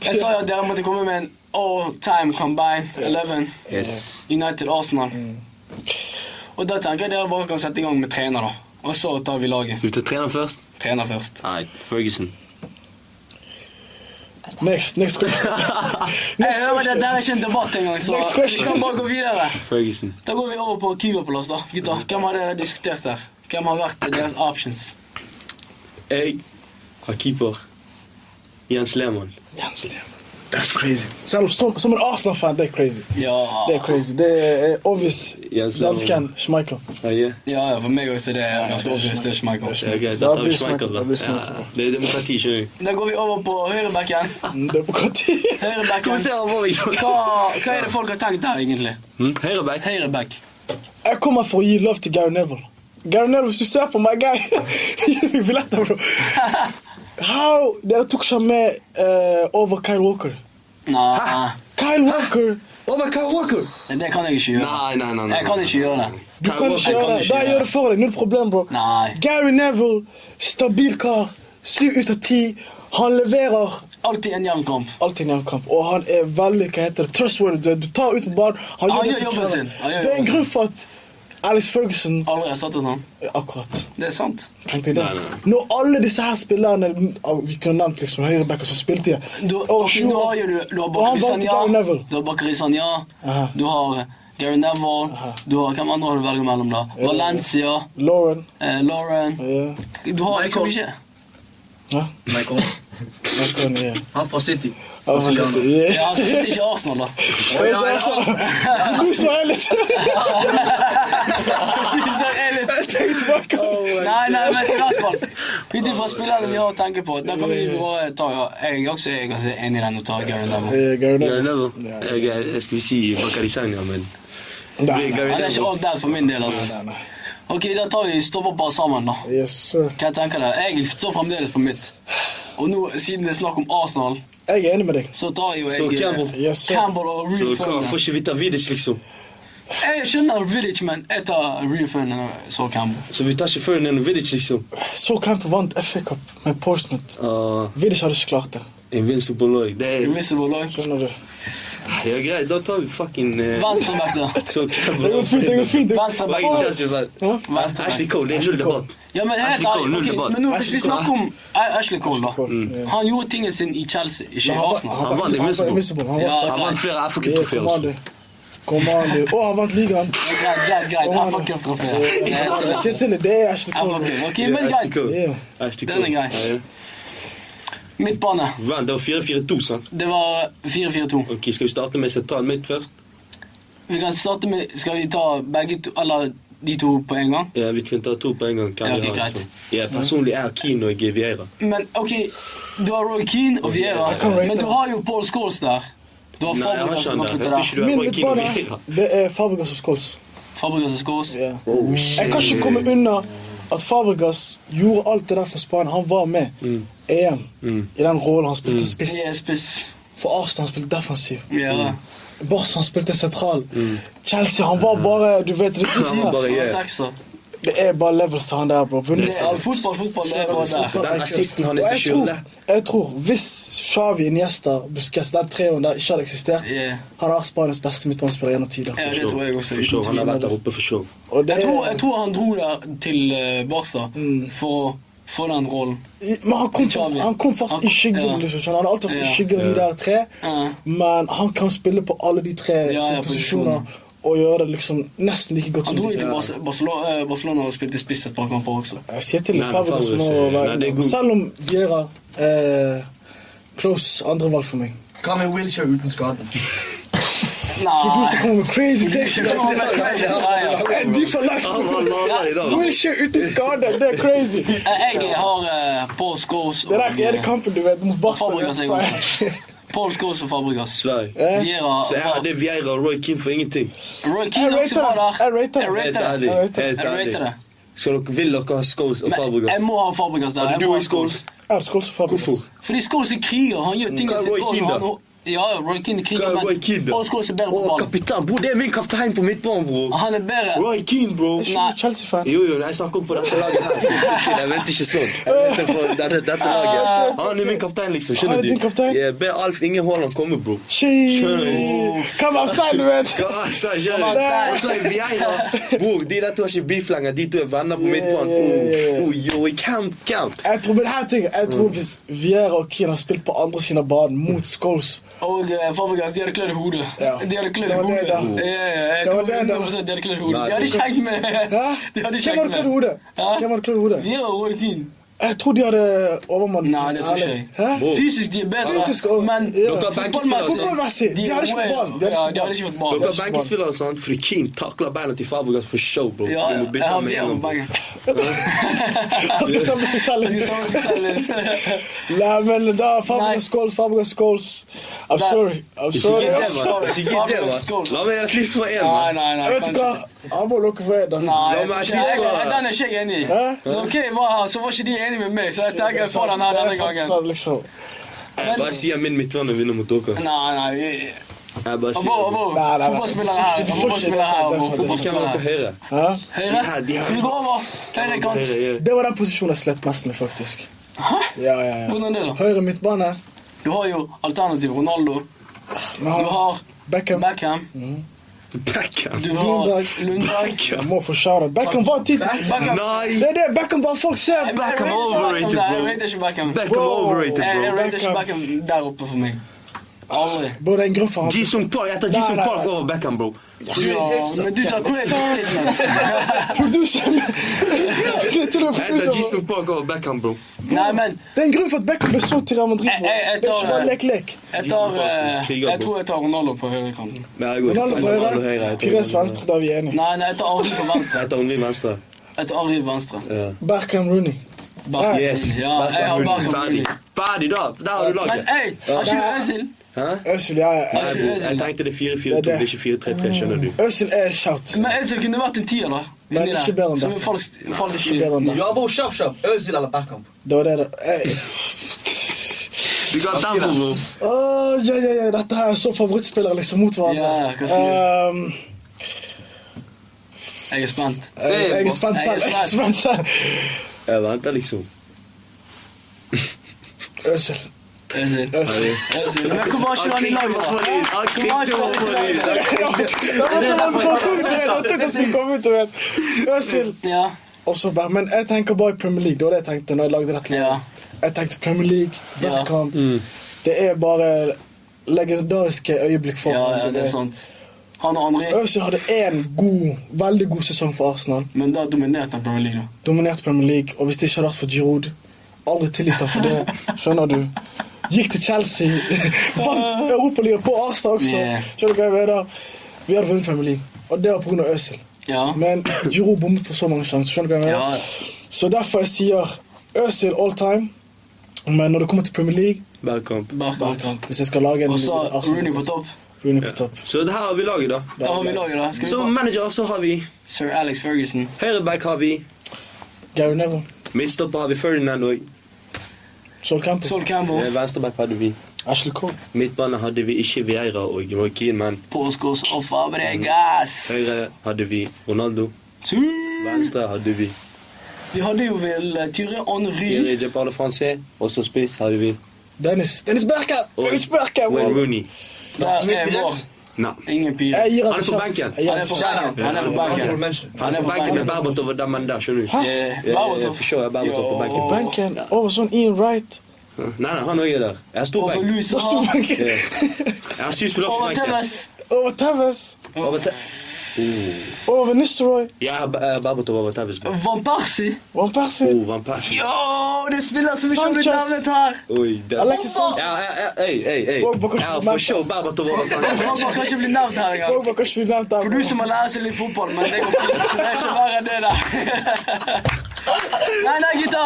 [SPEAKER 2] Jeg sa jo at dere måtte komme med en all time combine 11.
[SPEAKER 1] Yes.
[SPEAKER 2] United Arsenal. Og da tenker jeg dere bare kan sette i gang med trener, da. Og så tar vi laget.
[SPEAKER 1] Skal vi ta trener først?
[SPEAKER 2] Trener først.
[SPEAKER 1] Nei, Ah, Ferguson.
[SPEAKER 3] Next, next question.
[SPEAKER 2] Nej, det var det där jag kände bort en gång så
[SPEAKER 3] Next
[SPEAKER 2] vi
[SPEAKER 3] question.
[SPEAKER 2] kan bara gå vidare.
[SPEAKER 1] Ferguson.
[SPEAKER 2] Då går vi över på Kyriopoulos då. Gutta, vem har det diskuterat där? Vem har varit deras options?
[SPEAKER 1] Jeg har keeper Jens Lehmann.
[SPEAKER 3] Jens Lehmann. That's crazy. Selv som, som en Arsenal-fan, det er crazy.
[SPEAKER 2] Ja,
[SPEAKER 3] Det er crazy. Det er obvious.
[SPEAKER 1] Jens Lehmann.
[SPEAKER 3] Dansken, Schmeichel.
[SPEAKER 1] Ja, ja.
[SPEAKER 2] ja, ja, för mig också är det ganska obvious det är
[SPEAKER 1] Ja,
[SPEAKER 2] Schmeichel.
[SPEAKER 1] okay, da
[SPEAKER 3] Da
[SPEAKER 1] tar vi
[SPEAKER 3] blir
[SPEAKER 1] Schmeichel,
[SPEAKER 3] Schmeichel,
[SPEAKER 1] da.
[SPEAKER 3] da blir
[SPEAKER 1] Ja,
[SPEAKER 3] Schmeichel.
[SPEAKER 1] det er demokrati, skjønner du.
[SPEAKER 2] Då går vi över på högerbacken.
[SPEAKER 3] Det er på godt tid.
[SPEAKER 2] Högerbacken.
[SPEAKER 1] han var liksom?
[SPEAKER 2] Vad vad är det folk har tänkt där egentligen?
[SPEAKER 1] Mm, Høyreback.
[SPEAKER 2] Högerback.
[SPEAKER 3] Jeg kommer for å gi love til Gary Neville. Gary Neville, hvis du ser på meg, Gary Gi meg billetter, bro. How Dere tok ikke med eh, over Kyle Walker.
[SPEAKER 2] Nej,
[SPEAKER 3] Kyle Walker!
[SPEAKER 1] Oh my God, Walker!
[SPEAKER 2] det kan jag inte göra.
[SPEAKER 1] Nei, nei, nei. nei.
[SPEAKER 2] Jeg kan ikke gjøre det.
[SPEAKER 3] Du kan
[SPEAKER 1] Walker-
[SPEAKER 3] ikke gjøre
[SPEAKER 2] kan
[SPEAKER 3] det.
[SPEAKER 2] ikke
[SPEAKER 3] Da
[SPEAKER 2] gjøre
[SPEAKER 3] gjør
[SPEAKER 2] det.
[SPEAKER 3] det for deg. Null problem, bro.
[SPEAKER 2] Nei.
[SPEAKER 3] Gary Neville, stabil kar. Syv ut av ti. Han leverer
[SPEAKER 2] Alltid en jernkamp.
[SPEAKER 3] alltid i nærkamp. Og han er veldig hva heter det, trustworthy. Du- Du tar ut en ball. Han
[SPEAKER 2] Han
[SPEAKER 3] det
[SPEAKER 2] gjør
[SPEAKER 3] som
[SPEAKER 2] jobben
[SPEAKER 3] kreves.
[SPEAKER 2] sin. Han gjør
[SPEAKER 3] Det er
[SPEAKER 2] jobben
[SPEAKER 3] en
[SPEAKER 2] sin.
[SPEAKER 3] grunn for at Alex Ferguson
[SPEAKER 2] Aldrig erstattat han.
[SPEAKER 3] Akkurat.
[SPEAKER 2] Det är sant.
[SPEAKER 3] Tenkte jeg det.
[SPEAKER 1] Nei, nei, nei.
[SPEAKER 3] Når alle disse her spillerne av- Vi kunne nevnt liksom høyrebacker som spilte i
[SPEAKER 2] Du,
[SPEAKER 3] over
[SPEAKER 2] och
[SPEAKER 3] 20
[SPEAKER 2] nu
[SPEAKER 3] år.
[SPEAKER 2] har ju du, du har
[SPEAKER 3] Och han
[SPEAKER 2] Bakary
[SPEAKER 3] valgte Gary
[SPEAKER 2] Sanja,
[SPEAKER 3] Neville.
[SPEAKER 2] du har Bakary Sanja,
[SPEAKER 3] Aha.
[SPEAKER 2] du har eh, Gary Neville,
[SPEAKER 3] Aha.
[SPEAKER 2] du har, vem andra har du väljer mellan då?
[SPEAKER 3] Ja.
[SPEAKER 2] Valencia,
[SPEAKER 3] Lauren.
[SPEAKER 2] eh, Lauren,
[SPEAKER 3] Ja.
[SPEAKER 2] du har liksom
[SPEAKER 5] Michael.
[SPEAKER 2] mycket.
[SPEAKER 3] Ja.
[SPEAKER 5] Michael.
[SPEAKER 3] Jeg kan ja.
[SPEAKER 5] Han fra City.
[SPEAKER 3] Ja, hva sier du?
[SPEAKER 2] Ja, altså,
[SPEAKER 3] Ja.
[SPEAKER 2] alltså inte i Arsenal då.
[SPEAKER 5] Ja, ja, ja.
[SPEAKER 3] Du sa jeg litt. Jeg tenkte tilbake.
[SPEAKER 2] nej, nej, men i alla fall. Utifrån spelaren vi har tanke på, där kommer vi bara ta, jag, jag är också är ganska enig i den och ta Gary Neville.
[SPEAKER 3] Eh, Gary
[SPEAKER 1] Gary
[SPEAKER 3] Neville.
[SPEAKER 1] Neville.
[SPEAKER 3] Ja.
[SPEAKER 1] Jeg, jeg, jeg skulle si Bakary Sagna, men
[SPEAKER 3] Nei, nei,
[SPEAKER 1] Gary
[SPEAKER 2] Han är inte
[SPEAKER 1] Neville.
[SPEAKER 2] all där för min del alltså.
[SPEAKER 3] nei, nei.
[SPEAKER 2] Okej, då tar vi stoppar bara sammen då.
[SPEAKER 3] Yes, sir.
[SPEAKER 2] Kan jeg tenke deg, jeg står fremdeles på mitt. Og nå, siden det er snakk om Arsenal,
[SPEAKER 3] Jeg er enig med deg.
[SPEAKER 2] så tar jo jeg... eh,
[SPEAKER 1] Så Campbell.
[SPEAKER 3] Yes, sir.
[SPEAKER 2] Campbell og
[SPEAKER 1] Så
[SPEAKER 2] Real
[SPEAKER 1] hva, får
[SPEAKER 2] Ferdinand.
[SPEAKER 1] ikke vite Vidic, liksom.
[SPEAKER 2] Jeg skjønner Vidic, men jeg tar Real Ferdinand og så Campbell.
[SPEAKER 1] Så vi tar ikke Ferdinand og Vidic, liksom.
[SPEAKER 3] Så Camp vant FA Cup med Portsmouth.
[SPEAKER 1] Ah,
[SPEAKER 3] Vidic hadde ikke klart det.
[SPEAKER 1] Invincible Lloyd. Det er
[SPEAKER 2] Invisible Lloyd.
[SPEAKER 3] Skjønner du?
[SPEAKER 1] ja, greit, da tar vi fucking eh,
[SPEAKER 2] Venstreback da.
[SPEAKER 1] Så
[SPEAKER 3] Det går fint, det går fint. det går fint.
[SPEAKER 1] Hva er
[SPEAKER 2] Venstreback.
[SPEAKER 1] det som skjer? Ashley
[SPEAKER 2] Venstreback.
[SPEAKER 1] Cole, det er null debatt.
[SPEAKER 2] Ja, men helt
[SPEAKER 1] Ashley Cole,
[SPEAKER 2] ærlig,
[SPEAKER 1] null
[SPEAKER 2] ok,
[SPEAKER 1] debatt.
[SPEAKER 2] men nå, hvis vi
[SPEAKER 1] Ashley Cole. Mm.
[SPEAKER 2] snakker om A- Ashley Cole da.
[SPEAKER 3] Ja.
[SPEAKER 2] Han gjorde tingen sin i Chelsea, ikke i
[SPEAKER 3] Han var-
[SPEAKER 2] Arsenal.
[SPEAKER 1] Han vant Invincible.
[SPEAKER 3] Han
[SPEAKER 2] Ja,
[SPEAKER 3] vant
[SPEAKER 1] Han vant flere Afrika-trofeer også.
[SPEAKER 3] Kommando. Kommando. Å, han vant ligaen.
[SPEAKER 2] Ja, Greit, greit, greit. Jeg fucker opp trofeet. Jeg
[SPEAKER 3] Se til det, det er Ashley Cole.
[SPEAKER 2] fucker, ok,
[SPEAKER 1] Ja,
[SPEAKER 2] men
[SPEAKER 1] Ashley
[SPEAKER 2] greit.
[SPEAKER 1] Cole.
[SPEAKER 3] Ja.
[SPEAKER 1] Ashley
[SPEAKER 2] Den er
[SPEAKER 1] Cole.
[SPEAKER 2] grei.
[SPEAKER 1] Ja, ja.
[SPEAKER 2] Midtbane.
[SPEAKER 1] Vent, det var 4-4-2, sant?
[SPEAKER 2] Det var 4-4-2.
[SPEAKER 1] Ok, Skal vi starte med sentral midt først?
[SPEAKER 2] Vi kan starte med Skal vi ta begge to Eller de to på en gang?
[SPEAKER 1] Ja, Vi kan ta to på en gang. Kan
[SPEAKER 2] Ja,
[SPEAKER 1] vi
[SPEAKER 2] ok,
[SPEAKER 1] ha,
[SPEAKER 2] greit.
[SPEAKER 1] liksom. Ja, Personlig er Keane og Vieira.
[SPEAKER 2] Men OK, du har Roy Keane og Vieira.
[SPEAKER 1] Jeg kan
[SPEAKER 3] rate
[SPEAKER 2] Men du
[SPEAKER 3] det.
[SPEAKER 2] har jo Paul Scholes der. Du har
[SPEAKER 1] Nei, jeg har
[SPEAKER 2] Fabregas
[SPEAKER 1] ikke han
[SPEAKER 2] som har
[SPEAKER 1] der.
[SPEAKER 2] puttet
[SPEAKER 1] Hørte
[SPEAKER 2] der.
[SPEAKER 1] ikke du jeg var
[SPEAKER 3] Min
[SPEAKER 1] Keane og
[SPEAKER 3] midtbane,
[SPEAKER 1] Vieira?
[SPEAKER 3] det er Fabregas og Scholes.
[SPEAKER 2] Fabregas og Scholes.
[SPEAKER 3] Jeg
[SPEAKER 1] Oh, shit.
[SPEAKER 3] kan ikke komme unna at Fabregas gjorde alt det der for Spania. Han var med EM i den rollen han spilte spiss.
[SPEAKER 2] Det er spiss.
[SPEAKER 3] For Arsenal han spilte defensiv.
[SPEAKER 2] Ja.
[SPEAKER 1] Mm.
[SPEAKER 3] Barca han spilte sentral. Chelsea han var bare Du vet det
[SPEAKER 1] Han var bare
[SPEAKER 2] Han er
[SPEAKER 1] yeah.
[SPEAKER 2] sekser.
[SPEAKER 3] Det er bare levels han der, bro. Vunnet
[SPEAKER 2] Det er
[SPEAKER 3] alt.
[SPEAKER 2] Fotball, fotball, det er bare der.
[SPEAKER 1] Den assisten han
[SPEAKER 3] Og
[SPEAKER 1] ikke
[SPEAKER 3] jeg
[SPEAKER 1] skylder.
[SPEAKER 3] tror- Jeg tror hvis Xavi Iniesta Busquets, den treeren der ikke hadde eksistert,
[SPEAKER 2] Ja.
[SPEAKER 3] han er Spanias beste midtbanespiller gjennom tider.
[SPEAKER 2] Ja, det tror jeg også.
[SPEAKER 1] For sure, Han har vært der oppe for show.
[SPEAKER 3] Og det
[SPEAKER 2] Jeg tror,
[SPEAKER 3] er-
[SPEAKER 2] jeg tror han dro der til eh, Barca
[SPEAKER 3] Mm.
[SPEAKER 2] for å få den rollen.
[SPEAKER 3] I- Men han kom først,
[SPEAKER 2] Xavi.
[SPEAKER 3] han kom først
[SPEAKER 2] Han-
[SPEAKER 3] i skyggen.
[SPEAKER 2] ja.
[SPEAKER 3] Liksom, skjønner du? han har alltid vært
[SPEAKER 2] Ja.
[SPEAKER 3] i skyggen av de der tre,
[SPEAKER 2] Ja.
[SPEAKER 3] men han kan spille på alle de tre
[SPEAKER 2] Ja,
[SPEAKER 3] sine
[SPEAKER 2] ja,
[SPEAKER 3] posisjoner og gjøre det liksom nesten like godt
[SPEAKER 2] Han
[SPEAKER 3] som
[SPEAKER 2] dro jo
[SPEAKER 3] de.
[SPEAKER 2] til Barce- Barcelona, eh, Barcelona og spilte spiss et par kamper også.
[SPEAKER 3] Jeg sier til
[SPEAKER 1] Nei,
[SPEAKER 3] Fabregas
[SPEAKER 1] Fabregas
[SPEAKER 3] nå
[SPEAKER 1] er-
[SPEAKER 3] hver
[SPEAKER 1] nei, det er
[SPEAKER 3] gang.
[SPEAKER 1] god.
[SPEAKER 3] Selv om Viera eh, Close andrevalg for meg.
[SPEAKER 4] Hva med Wilshere uten skaden?
[SPEAKER 3] For du som
[SPEAKER 2] Nei.
[SPEAKER 3] kommer med crazy ting.
[SPEAKER 2] Nei, ja.
[SPEAKER 3] Eh, De for life.
[SPEAKER 1] Han var lala i dag.
[SPEAKER 3] Wilshere uten skade, det er crazy.
[SPEAKER 2] Jeg jeg har eh, Paul Scholes og
[SPEAKER 3] Det der er det
[SPEAKER 2] eh,
[SPEAKER 3] kampen du vet mot Barca.
[SPEAKER 2] Fabregas en gang. Paul Scholes og Fabregas.
[SPEAKER 1] Sverige.
[SPEAKER 3] Eh,
[SPEAKER 2] Vieira
[SPEAKER 1] Så jeg
[SPEAKER 2] var-
[SPEAKER 1] hadde Vieira og Roy Keane for ingenting.
[SPEAKER 2] Roy
[SPEAKER 3] Jeg
[SPEAKER 2] Keane også
[SPEAKER 3] rater
[SPEAKER 2] var
[SPEAKER 3] det.
[SPEAKER 2] der.
[SPEAKER 3] Jeg rater det.
[SPEAKER 1] Helt
[SPEAKER 2] rater
[SPEAKER 1] ærlig.
[SPEAKER 2] det.
[SPEAKER 3] Jeg vet det.
[SPEAKER 1] Helt
[SPEAKER 2] Jeg rater
[SPEAKER 1] ærlig.
[SPEAKER 2] det.
[SPEAKER 1] Skal dere, vil dere ha Scholes og
[SPEAKER 2] Men
[SPEAKER 1] Fabregas?
[SPEAKER 2] Jeg må ha Fabregas der.
[SPEAKER 1] Hadde
[SPEAKER 2] Jeg
[SPEAKER 1] du
[SPEAKER 2] må ha
[SPEAKER 1] også Scholes?
[SPEAKER 3] Jeg har skålt for Fabregas.
[SPEAKER 1] Hvorfor?
[SPEAKER 2] Fordi Scholes er kriger. Han gjør tingene
[SPEAKER 1] Hva er Roy
[SPEAKER 2] sitt
[SPEAKER 1] Keane
[SPEAKER 2] og han-
[SPEAKER 1] da?
[SPEAKER 2] Ja, ja, Roy Keane krigar.
[SPEAKER 1] Roy Keane, da.
[SPEAKER 2] Och skor så bättre på
[SPEAKER 1] Åh,
[SPEAKER 2] bollen.
[SPEAKER 1] kapitan, bror, det är min kapten på mittbanan bror.
[SPEAKER 2] Han är bättre.
[SPEAKER 1] Roy Keane bror.
[SPEAKER 2] Nei.
[SPEAKER 3] Chelsea-fan.
[SPEAKER 1] Jo, jo, jeg snakker om på dette laget her. Ok, Jeg mente ikke sånn. Jeg mente på dette, dette laget.
[SPEAKER 2] Ah.
[SPEAKER 1] Han er min kaptein, liksom.
[SPEAKER 3] Han
[SPEAKER 1] Skjønner
[SPEAKER 3] er
[SPEAKER 1] du?
[SPEAKER 3] din kaptein?
[SPEAKER 1] Ja, be Alf Inge Haaland komme, bro.
[SPEAKER 3] Shit. Come outside, man.
[SPEAKER 1] Ja, sa jeg.
[SPEAKER 2] Kom outside.
[SPEAKER 1] Og så er vi her, da. Bror, de der to har ikke beef lenger. De to er venner på
[SPEAKER 3] Yeah,
[SPEAKER 1] midtbanen.
[SPEAKER 3] yeah, yeah,
[SPEAKER 1] Oh, oh, yo, i camp, camp.
[SPEAKER 3] Jeg tror, men her ting, jeg tror hvis Vieira og Keane har spilt på andre siden av banen mot Scholes
[SPEAKER 2] Og eh, Fabregas, de hadde klødd hodet.
[SPEAKER 3] Ja.
[SPEAKER 2] De hadde klødd
[SPEAKER 3] Det var
[SPEAKER 2] hodet.
[SPEAKER 3] det, da.
[SPEAKER 2] Ja, ja, ja, jeg
[SPEAKER 3] Det var
[SPEAKER 2] tror
[SPEAKER 3] det, da.
[SPEAKER 2] 100% de hadde klødd hodet.
[SPEAKER 1] Nei,
[SPEAKER 2] De hadde
[SPEAKER 1] det-
[SPEAKER 2] kjekt med.
[SPEAKER 3] Hæ?
[SPEAKER 2] De hadde
[SPEAKER 3] Hvem hadde klødd hodet?
[SPEAKER 2] Hæ?
[SPEAKER 3] Hvem hadde klødd hodet?
[SPEAKER 2] De er Roy Keane.
[SPEAKER 3] Jeg tror de hadde overmann.
[SPEAKER 2] Nei, det tror ikke jeg.
[SPEAKER 3] Hæ?
[SPEAKER 1] Bro.
[SPEAKER 2] Fysisk, de er bedre.
[SPEAKER 3] Fysisk, og-
[SPEAKER 2] Men
[SPEAKER 3] ja.
[SPEAKER 1] Dere har
[SPEAKER 2] fotballmessig,
[SPEAKER 3] Fotballmessig, altså. de hadde ikke
[SPEAKER 2] way-
[SPEAKER 3] fått ball. De hadde
[SPEAKER 2] Ja,
[SPEAKER 3] ikke
[SPEAKER 2] de hadde ikke fått ball.
[SPEAKER 1] Dere har bankespillere og sånn, fordi Keane takler beina til Fabregas for show, bro.
[SPEAKER 2] Ja,
[SPEAKER 1] Du
[SPEAKER 2] ja,
[SPEAKER 1] må bytte
[SPEAKER 2] jeg har
[SPEAKER 1] med
[SPEAKER 2] vi
[SPEAKER 1] en
[SPEAKER 2] er
[SPEAKER 1] gang, bro.
[SPEAKER 2] på bangen.
[SPEAKER 3] Han skal samle seg selv.
[SPEAKER 2] De sa han skulle selge den.
[SPEAKER 3] Nei, men da
[SPEAKER 2] Nei.
[SPEAKER 3] Fabregas Scholes, Fabregas Scholes. I'm
[SPEAKER 2] Nei.
[SPEAKER 3] sorry. I'm sorry.
[SPEAKER 1] Ikke
[SPEAKER 3] ass.
[SPEAKER 1] det, man. Ikke det, man. La meg et lyst for én,
[SPEAKER 2] Nei,
[SPEAKER 1] man.
[SPEAKER 2] nei, nei,
[SPEAKER 3] Vet du
[SPEAKER 2] kanskje
[SPEAKER 3] hva?
[SPEAKER 2] ikke.
[SPEAKER 3] Han må lukke for Edda.
[SPEAKER 2] Nei,
[SPEAKER 1] La
[SPEAKER 2] jeg
[SPEAKER 1] meg
[SPEAKER 2] tror
[SPEAKER 1] ikke
[SPEAKER 2] ikke jeg-
[SPEAKER 1] svare.
[SPEAKER 2] jeg- den er ikke jeg enig i.
[SPEAKER 3] Hæ?
[SPEAKER 2] Når Kane var her, så var ikke de enige med meg, så jeg tenker på den her denne gangen.
[SPEAKER 3] Liksom.
[SPEAKER 1] Jeg bare sier min midtbane vinner mot dere.
[SPEAKER 2] Nei, nei, vi-
[SPEAKER 1] Jeg bare
[SPEAKER 2] Abo,
[SPEAKER 1] sier
[SPEAKER 2] abo,
[SPEAKER 1] det.
[SPEAKER 3] Nei, nei, nei.
[SPEAKER 2] fotballspillere her,
[SPEAKER 3] Du får ikke
[SPEAKER 2] fotballspillere her,
[SPEAKER 3] det,
[SPEAKER 2] abo,
[SPEAKER 3] det-
[SPEAKER 1] Ikke
[SPEAKER 2] fotballspillere
[SPEAKER 1] han på
[SPEAKER 2] her.
[SPEAKER 1] høyre.
[SPEAKER 3] Hæ?
[SPEAKER 2] Høyre?
[SPEAKER 1] Ja, de har-
[SPEAKER 2] Skal vi gå over? Høyre kant.
[SPEAKER 1] Høyre, ja.
[SPEAKER 3] Det var den posisjonen jeg slet mest med, faktisk. Ja, ja, ja.
[SPEAKER 2] Hvordan er det da?
[SPEAKER 3] Høyre midtbane.
[SPEAKER 2] Du har jo alternativ Ronaldo,
[SPEAKER 3] Vi
[SPEAKER 2] du
[SPEAKER 3] har
[SPEAKER 2] har
[SPEAKER 3] Beckham.
[SPEAKER 2] Beckham,
[SPEAKER 1] Beckham.
[SPEAKER 2] du har
[SPEAKER 3] Lundberg.
[SPEAKER 2] Lundberg.
[SPEAKER 3] Jeg må få shout-out. Beckham var tid.
[SPEAKER 2] Beckham.
[SPEAKER 1] Nei!
[SPEAKER 3] Det er det Beckham bare folk ser.
[SPEAKER 2] Jeg- jeg rater ikke
[SPEAKER 1] overrated,
[SPEAKER 2] Beckham der,
[SPEAKER 1] bro.
[SPEAKER 2] Jeg rater ikke Beckham.
[SPEAKER 1] Beckham
[SPEAKER 3] Bro.
[SPEAKER 1] overrated,
[SPEAKER 2] Jeg
[SPEAKER 1] bro.
[SPEAKER 2] jeg rater ikke
[SPEAKER 3] Beckham.
[SPEAKER 2] Beckham der oppe for meg. Aldri.
[SPEAKER 3] Bro, det er en grunn for ham.
[SPEAKER 1] Jisung Park, jeg tar
[SPEAKER 3] Nei,
[SPEAKER 1] Jisung
[SPEAKER 3] nei,
[SPEAKER 1] Park
[SPEAKER 3] nei.
[SPEAKER 1] over Beckham, bro.
[SPEAKER 2] Ja, men du tar credit for statements.
[SPEAKER 3] Producer. Det er til og med
[SPEAKER 1] Jeg tar
[SPEAKER 3] producer.
[SPEAKER 1] Jisung Park over Beckham, bro.
[SPEAKER 2] Nei, men
[SPEAKER 3] Det er en grunn for at Beckham ble solgt til Real Madrid.
[SPEAKER 2] Jeg-
[SPEAKER 3] bro.
[SPEAKER 2] jeg- jeg
[SPEAKER 3] Det er
[SPEAKER 2] tar-
[SPEAKER 3] ikke bare lek-lek.
[SPEAKER 2] jeg tar
[SPEAKER 1] Jisung Park,
[SPEAKER 2] eh,
[SPEAKER 1] kriger,
[SPEAKER 2] Jeg
[SPEAKER 1] bro.
[SPEAKER 2] tror jeg tar Ronaldo på høyrekanten.
[SPEAKER 1] Men jeg går ikke
[SPEAKER 3] Ronaldo
[SPEAKER 1] til
[SPEAKER 3] på
[SPEAKER 1] Ronaldo
[SPEAKER 3] høyre,
[SPEAKER 1] jeg tar
[SPEAKER 3] Pires
[SPEAKER 1] Ronaldo.
[SPEAKER 3] venstre, da er vi enige.
[SPEAKER 2] Nei, nei, jeg tar Henri på venstre.
[SPEAKER 1] Jeg tar Henri venstre.
[SPEAKER 2] Jeg tar Henri på venstre.
[SPEAKER 1] Ja.
[SPEAKER 3] Beckham Rooney.
[SPEAKER 2] Bak-
[SPEAKER 1] Ah, Yes.
[SPEAKER 2] Ja, jeg har
[SPEAKER 1] Rooney.
[SPEAKER 2] Beckham.
[SPEAKER 1] Ferdig. Ferdig, da. Der har du
[SPEAKER 2] Men
[SPEAKER 1] laget.
[SPEAKER 2] ei, har ikke du Øzil?
[SPEAKER 1] Hæ?
[SPEAKER 3] Øzil, ja, ja.
[SPEAKER 1] Nei, bro, Jeg tenkte det er 4-4-2, det er ikke 4-3-3, skjønner du.
[SPEAKER 3] Øzil er shout.
[SPEAKER 2] Men Øzil kunne vært en tier, da.
[SPEAKER 3] Men
[SPEAKER 2] Inni der.
[SPEAKER 3] ikke bedre enn det.
[SPEAKER 2] Som en falsk, falsk
[SPEAKER 3] Ikke bedre enn det.
[SPEAKER 5] Ja, bro, kjapp, kjapp. Özil eller Bergkamp?
[SPEAKER 3] Det var det, da. Ey.
[SPEAKER 1] Du kan ta den, bro.
[SPEAKER 3] Åh, ja, ja, ja, dette her er så favorittspillere liksom mot hverandre.
[SPEAKER 2] Ja, hva sier
[SPEAKER 3] Um,
[SPEAKER 2] Jeg er spent.
[SPEAKER 3] eh, jeg
[SPEAKER 5] bro.
[SPEAKER 3] er spent
[SPEAKER 2] Jeg er
[SPEAKER 3] selv, jeg er spent selv.
[SPEAKER 1] Jeg venter, liksom.
[SPEAKER 3] Øzil,
[SPEAKER 2] Øzil.
[SPEAKER 3] Øzil.
[SPEAKER 2] Øzil. Men hvorfor var ikke han i laget, da?
[SPEAKER 1] Han
[SPEAKER 2] Hvorfor var ikke
[SPEAKER 1] klikker
[SPEAKER 2] han i
[SPEAKER 1] på
[SPEAKER 2] laget?
[SPEAKER 1] dem.
[SPEAKER 3] Da var det han som tok det, da tok jeg skulle komme ut, du vet. Øzil.
[SPEAKER 2] Ja.
[SPEAKER 3] Og så bare, men jeg tenker bare i Premier League, det var det jeg tenkte når jeg lagde dette
[SPEAKER 2] Ja.
[SPEAKER 3] laget. Jeg tenkte Premier League,
[SPEAKER 2] Ja.
[SPEAKER 3] Bergkamp. Det er bare legendariske øyeblikk for
[SPEAKER 2] ja, ja,
[SPEAKER 3] hverandre.
[SPEAKER 2] det er sant. Han og Henri.
[SPEAKER 3] Øzil hadde en god, veldig god sesong for Arsenal.
[SPEAKER 2] Men da dominerte han Premier League, da.
[SPEAKER 3] dominert Premier League, og hvis det ikke hadde vært for Giroud Aldri tilgitt ham for det, skjønner du. Gikk til Chelsea, vant Europaligaen på Arsenal også.
[SPEAKER 2] Yeah.
[SPEAKER 3] Skjønner du hva jeg mener? Vi hadde vunnet Premier League, og det var pga. Øzil.
[SPEAKER 2] Ja.
[SPEAKER 3] Men Giroud bommet på så mange sjanser. skjønner du hva jeg
[SPEAKER 2] Ja.
[SPEAKER 3] mener? Så derfor jeg sier Øzil all time, men når det kommer til Premier League
[SPEAKER 1] Bergkamp.
[SPEAKER 2] Bergkamp.
[SPEAKER 3] Hvis jeg skal lage en
[SPEAKER 2] Og så
[SPEAKER 3] Arsenal-
[SPEAKER 2] Rooney på topp.
[SPEAKER 3] Rooney på topp.
[SPEAKER 1] Så her har vi laget, da.
[SPEAKER 2] Da har vi laget, da. Skal vi
[SPEAKER 1] Som
[SPEAKER 2] bare
[SPEAKER 1] manager så har vi
[SPEAKER 2] Sir Alex Ferguson.
[SPEAKER 1] høyreback har vi,
[SPEAKER 3] Gary Neville,
[SPEAKER 1] midtstopper har vi Ferdinand og
[SPEAKER 3] Sol Campbell,
[SPEAKER 2] Sol Campbell.
[SPEAKER 1] eh, venstreback hadde vi.
[SPEAKER 3] Ashley Cole.
[SPEAKER 1] Midtbane hadde vi ikke Vieira og Roy Keane, men
[SPEAKER 2] Påskås og Fabregas.
[SPEAKER 1] høyre hadde vi Ronaldo. Venstre hadde vi
[SPEAKER 2] Vi hadde jo vel eh, Thierry Henry.
[SPEAKER 1] Thierry Jean-Paul Francais, og så spiss hadde vi
[SPEAKER 3] Dennis Dennis Bergkamp!
[SPEAKER 1] Oi.
[SPEAKER 3] Dennis Bergkamp!
[SPEAKER 1] Wayne
[SPEAKER 3] wow.
[SPEAKER 1] Rooney. Nou.
[SPEAKER 2] Der er
[SPEAKER 5] Pires.
[SPEAKER 2] vår.
[SPEAKER 1] Nei.
[SPEAKER 2] Ingen pire.
[SPEAKER 3] Jeg gir
[SPEAKER 1] Han er på
[SPEAKER 3] shout.
[SPEAKER 1] benken.
[SPEAKER 3] Jeg gir
[SPEAKER 2] Han er
[SPEAKER 3] han
[SPEAKER 2] på benken. Han er på
[SPEAKER 5] Honorable
[SPEAKER 2] benken.
[SPEAKER 5] mention.
[SPEAKER 1] Han er på benken med Berbatov og den mannen der, skjønner du.
[SPEAKER 3] Hæ?
[SPEAKER 2] Yeah,
[SPEAKER 1] Ja,
[SPEAKER 2] Berbatov.
[SPEAKER 1] ja, for sure, jeg er Berbatov på
[SPEAKER 2] Ja.
[SPEAKER 1] benken.
[SPEAKER 3] Benken over sånn Ian Wright.
[SPEAKER 1] Nei, nei, han òg er der. Jeg har stor
[SPEAKER 2] Over
[SPEAKER 1] benk.
[SPEAKER 2] Louis
[SPEAKER 3] Da sto
[SPEAKER 2] Saha.
[SPEAKER 1] Ja.
[SPEAKER 3] benken
[SPEAKER 1] Jeg har syv spillere på
[SPEAKER 2] Over
[SPEAKER 1] benken.
[SPEAKER 2] Tevez.
[SPEAKER 3] over Tevez,
[SPEAKER 1] Over te-
[SPEAKER 3] over Nistelrooy,
[SPEAKER 1] Ja, jeg har Ba- jeg har Berbatov over Tevez. bro.
[SPEAKER 2] Van Persie.
[SPEAKER 3] Van Persie,
[SPEAKER 1] Oh, Van Persie.
[SPEAKER 2] Jo, det spiller som ikke har blitt
[SPEAKER 3] Sanchez.
[SPEAKER 2] nevnet her.
[SPEAKER 1] Oi, der.
[SPEAKER 3] Alexis
[SPEAKER 1] Ja,
[SPEAKER 3] Sanchez.
[SPEAKER 1] ja, ja, ey, ey, ey.
[SPEAKER 3] Pogba kan-
[SPEAKER 1] Ja, for show, Berbatov over Sanchez.
[SPEAKER 2] Han kan ikke bli nevnt her engang.
[SPEAKER 3] Pogba, kanskje vi nevnte
[SPEAKER 2] For du
[SPEAKER 3] ham.
[SPEAKER 2] som har lært seg litt fotball, men det går fint. Så det er ikke verre enn det der. Nei, nei, gutta.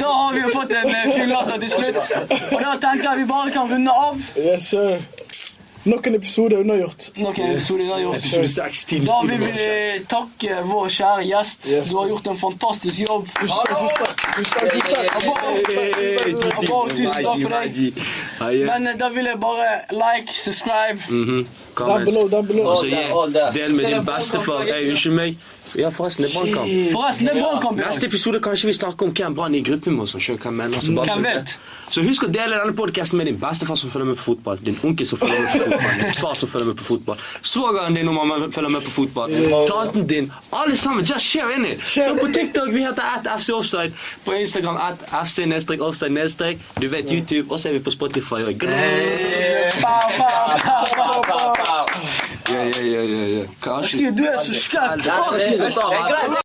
[SPEAKER 2] Da har vi jo fått en eh, full latter til slutt. Og da tenker jeg vi bare kan runde av.
[SPEAKER 3] Yes, sir. Nok en episode unnagjort.
[SPEAKER 2] Noen episoder vi har gjort.
[SPEAKER 1] Episode 16.
[SPEAKER 2] Da vil vi eh, takke vår kjære gjest.
[SPEAKER 3] Yes.
[SPEAKER 2] Du har gjort en fantastisk jobb.
[SPEAKER 3] Tusen takk, tusen takk, tusen takk.
[SPEAKER 2] Bravo, bravo, tusen takk for deg.
[SPEAKER 1] Ah, yeah.
[SPEAKER 2] Men eh, da vil jeg bare like, subscribe.
[SPEAKER 1] Mhm.
[SPEAKER 3] Down below, down below.
[SPEAKER 1] Også,
[SPEAKER 6] All
[SPEAKER 1] yeah,
[SPEAKER 6] that, all that.
[SPEAKER 1] Del med
[SPEAKER 6] Se
[SPEAKER 1] din
[SPEAKER 6] det
[SPEAKER 1] bestefar.
[SPEAKER 6] Brannkamp,
[SPEAKER 1] Ej, unnskyld meg. Ja, forresten, det er Brannkamp.
[SPEAKER 2] Forresten, det er brannkamp i
[SPEAKER 1] Neste
[SPEAKER 2] dag.
[SPEAKER 1] episode kanskje vi snakker om hvem Brann i gruppen med, som sjøl hvem mener som
[SPEAKER 2] Hvem vet?
[SPEAKER 1] Så husk å dele denne podcasten med din bestefar som følger med på fotball, din onkel som følger med på fotball, din far som følger med på fotball, svogeren din og mamma følger med på fotball, tanten din. Alle sammen, just share in it. Så på TikTok vi heter at FC Offside, på Instagram at FC nedstrek offside nedstrek, du vet YouTube, og så er vi på Spotify og
[SPEAKER 2] Pow, pow, pow, pow, pow.
[SPEAKER 1] Ja, ja, ja, ja, ja. Kanskje.
[SPEAKER 2] Skriv, du er så skakk.
[SPEAKER 1] Nei, det er-
[SPEAKER 6] Det er greit.